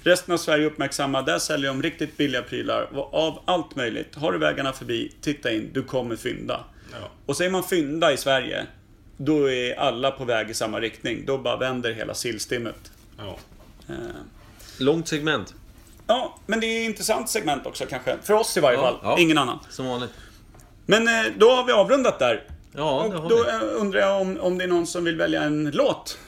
Resten av Sverige uppmärksammade. Där säljer de riktigt billiga prylar av allt möjligt. Har du vägarna förbi, titta in. Du kommer fynda.
Ja.
Och säger man fynda i Sverige, då är alla på väg i samma riktning. Då bara vänder hela sillstimmet.
ja.
Eh,
Långt segment.
Ja, men det är ett intressant segment också kanske. För oss i varje
Ja,
fall,
ja.
ingen annan.
Som vanligt.
Men eh, då har vi avrundat där.
Ja, det
Och
har
då
vi.
eh, undrar jag om, om det är någon som vill välja en låt.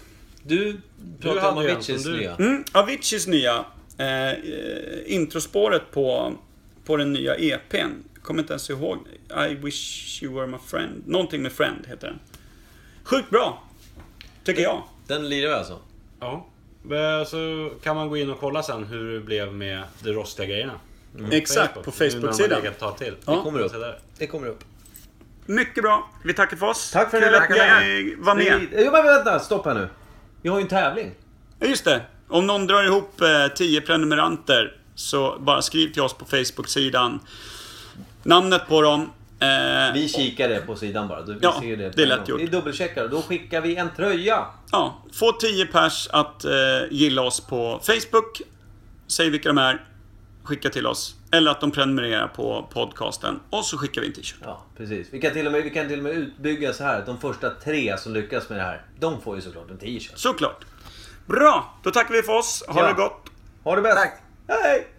Du pratade om
hade ju en
Aviciis
som du-
nya.
Mm, Aviciis nya eh, eh, introspåret på, på den nya EPn. Kommer inte ens ihåg. I wish you were my friend. Någonting med friend heter den. Sjukt bra. Tycker jag.
Den lirar vi alltså.
Ja. Men Så kan man gå in och kolla sen hur det blev med de rostiga grejerna.
Mm.
Exakt, på
Nu när de har
Facebook-sidan.
legat ett tag till.
Ja.
Kommer upp.
Så där.
Det kommer upp.
Mycket bra. Vi tackar för oss.
Tack för
Kul
det.
att ni var med.
Jo, men vänta. Stopp här nu. Vi har ju en tävling.
Ja, Just det. Om någon drar ihop eh, 10 prenumeranter så bara skriv till oss på Facebook-sidan. Namnet på dem. Eh,
Vi kikade på sidan bara. Du, vi
Ja,
ser det,
det är lätt gjort.
Vi dubbelcheckar. Då skickar vi en tröja.
Ja, få 10 pers att eh, gilla oss på Facebook. Säg vilka de är. Skicka till oss. Eller att de prenumererar på podcasten. Och så skickar vi en t-shirt.
Ja, precis. Vi kan till och med, vi kan till och med utbygga så här. att De första tre som lyckas med det här, de får ju såklart en t-shirt.
Såklart. Bra, då tackar vi för oss. Ha
Ja.
det gott.
Ha det bäst! Hej!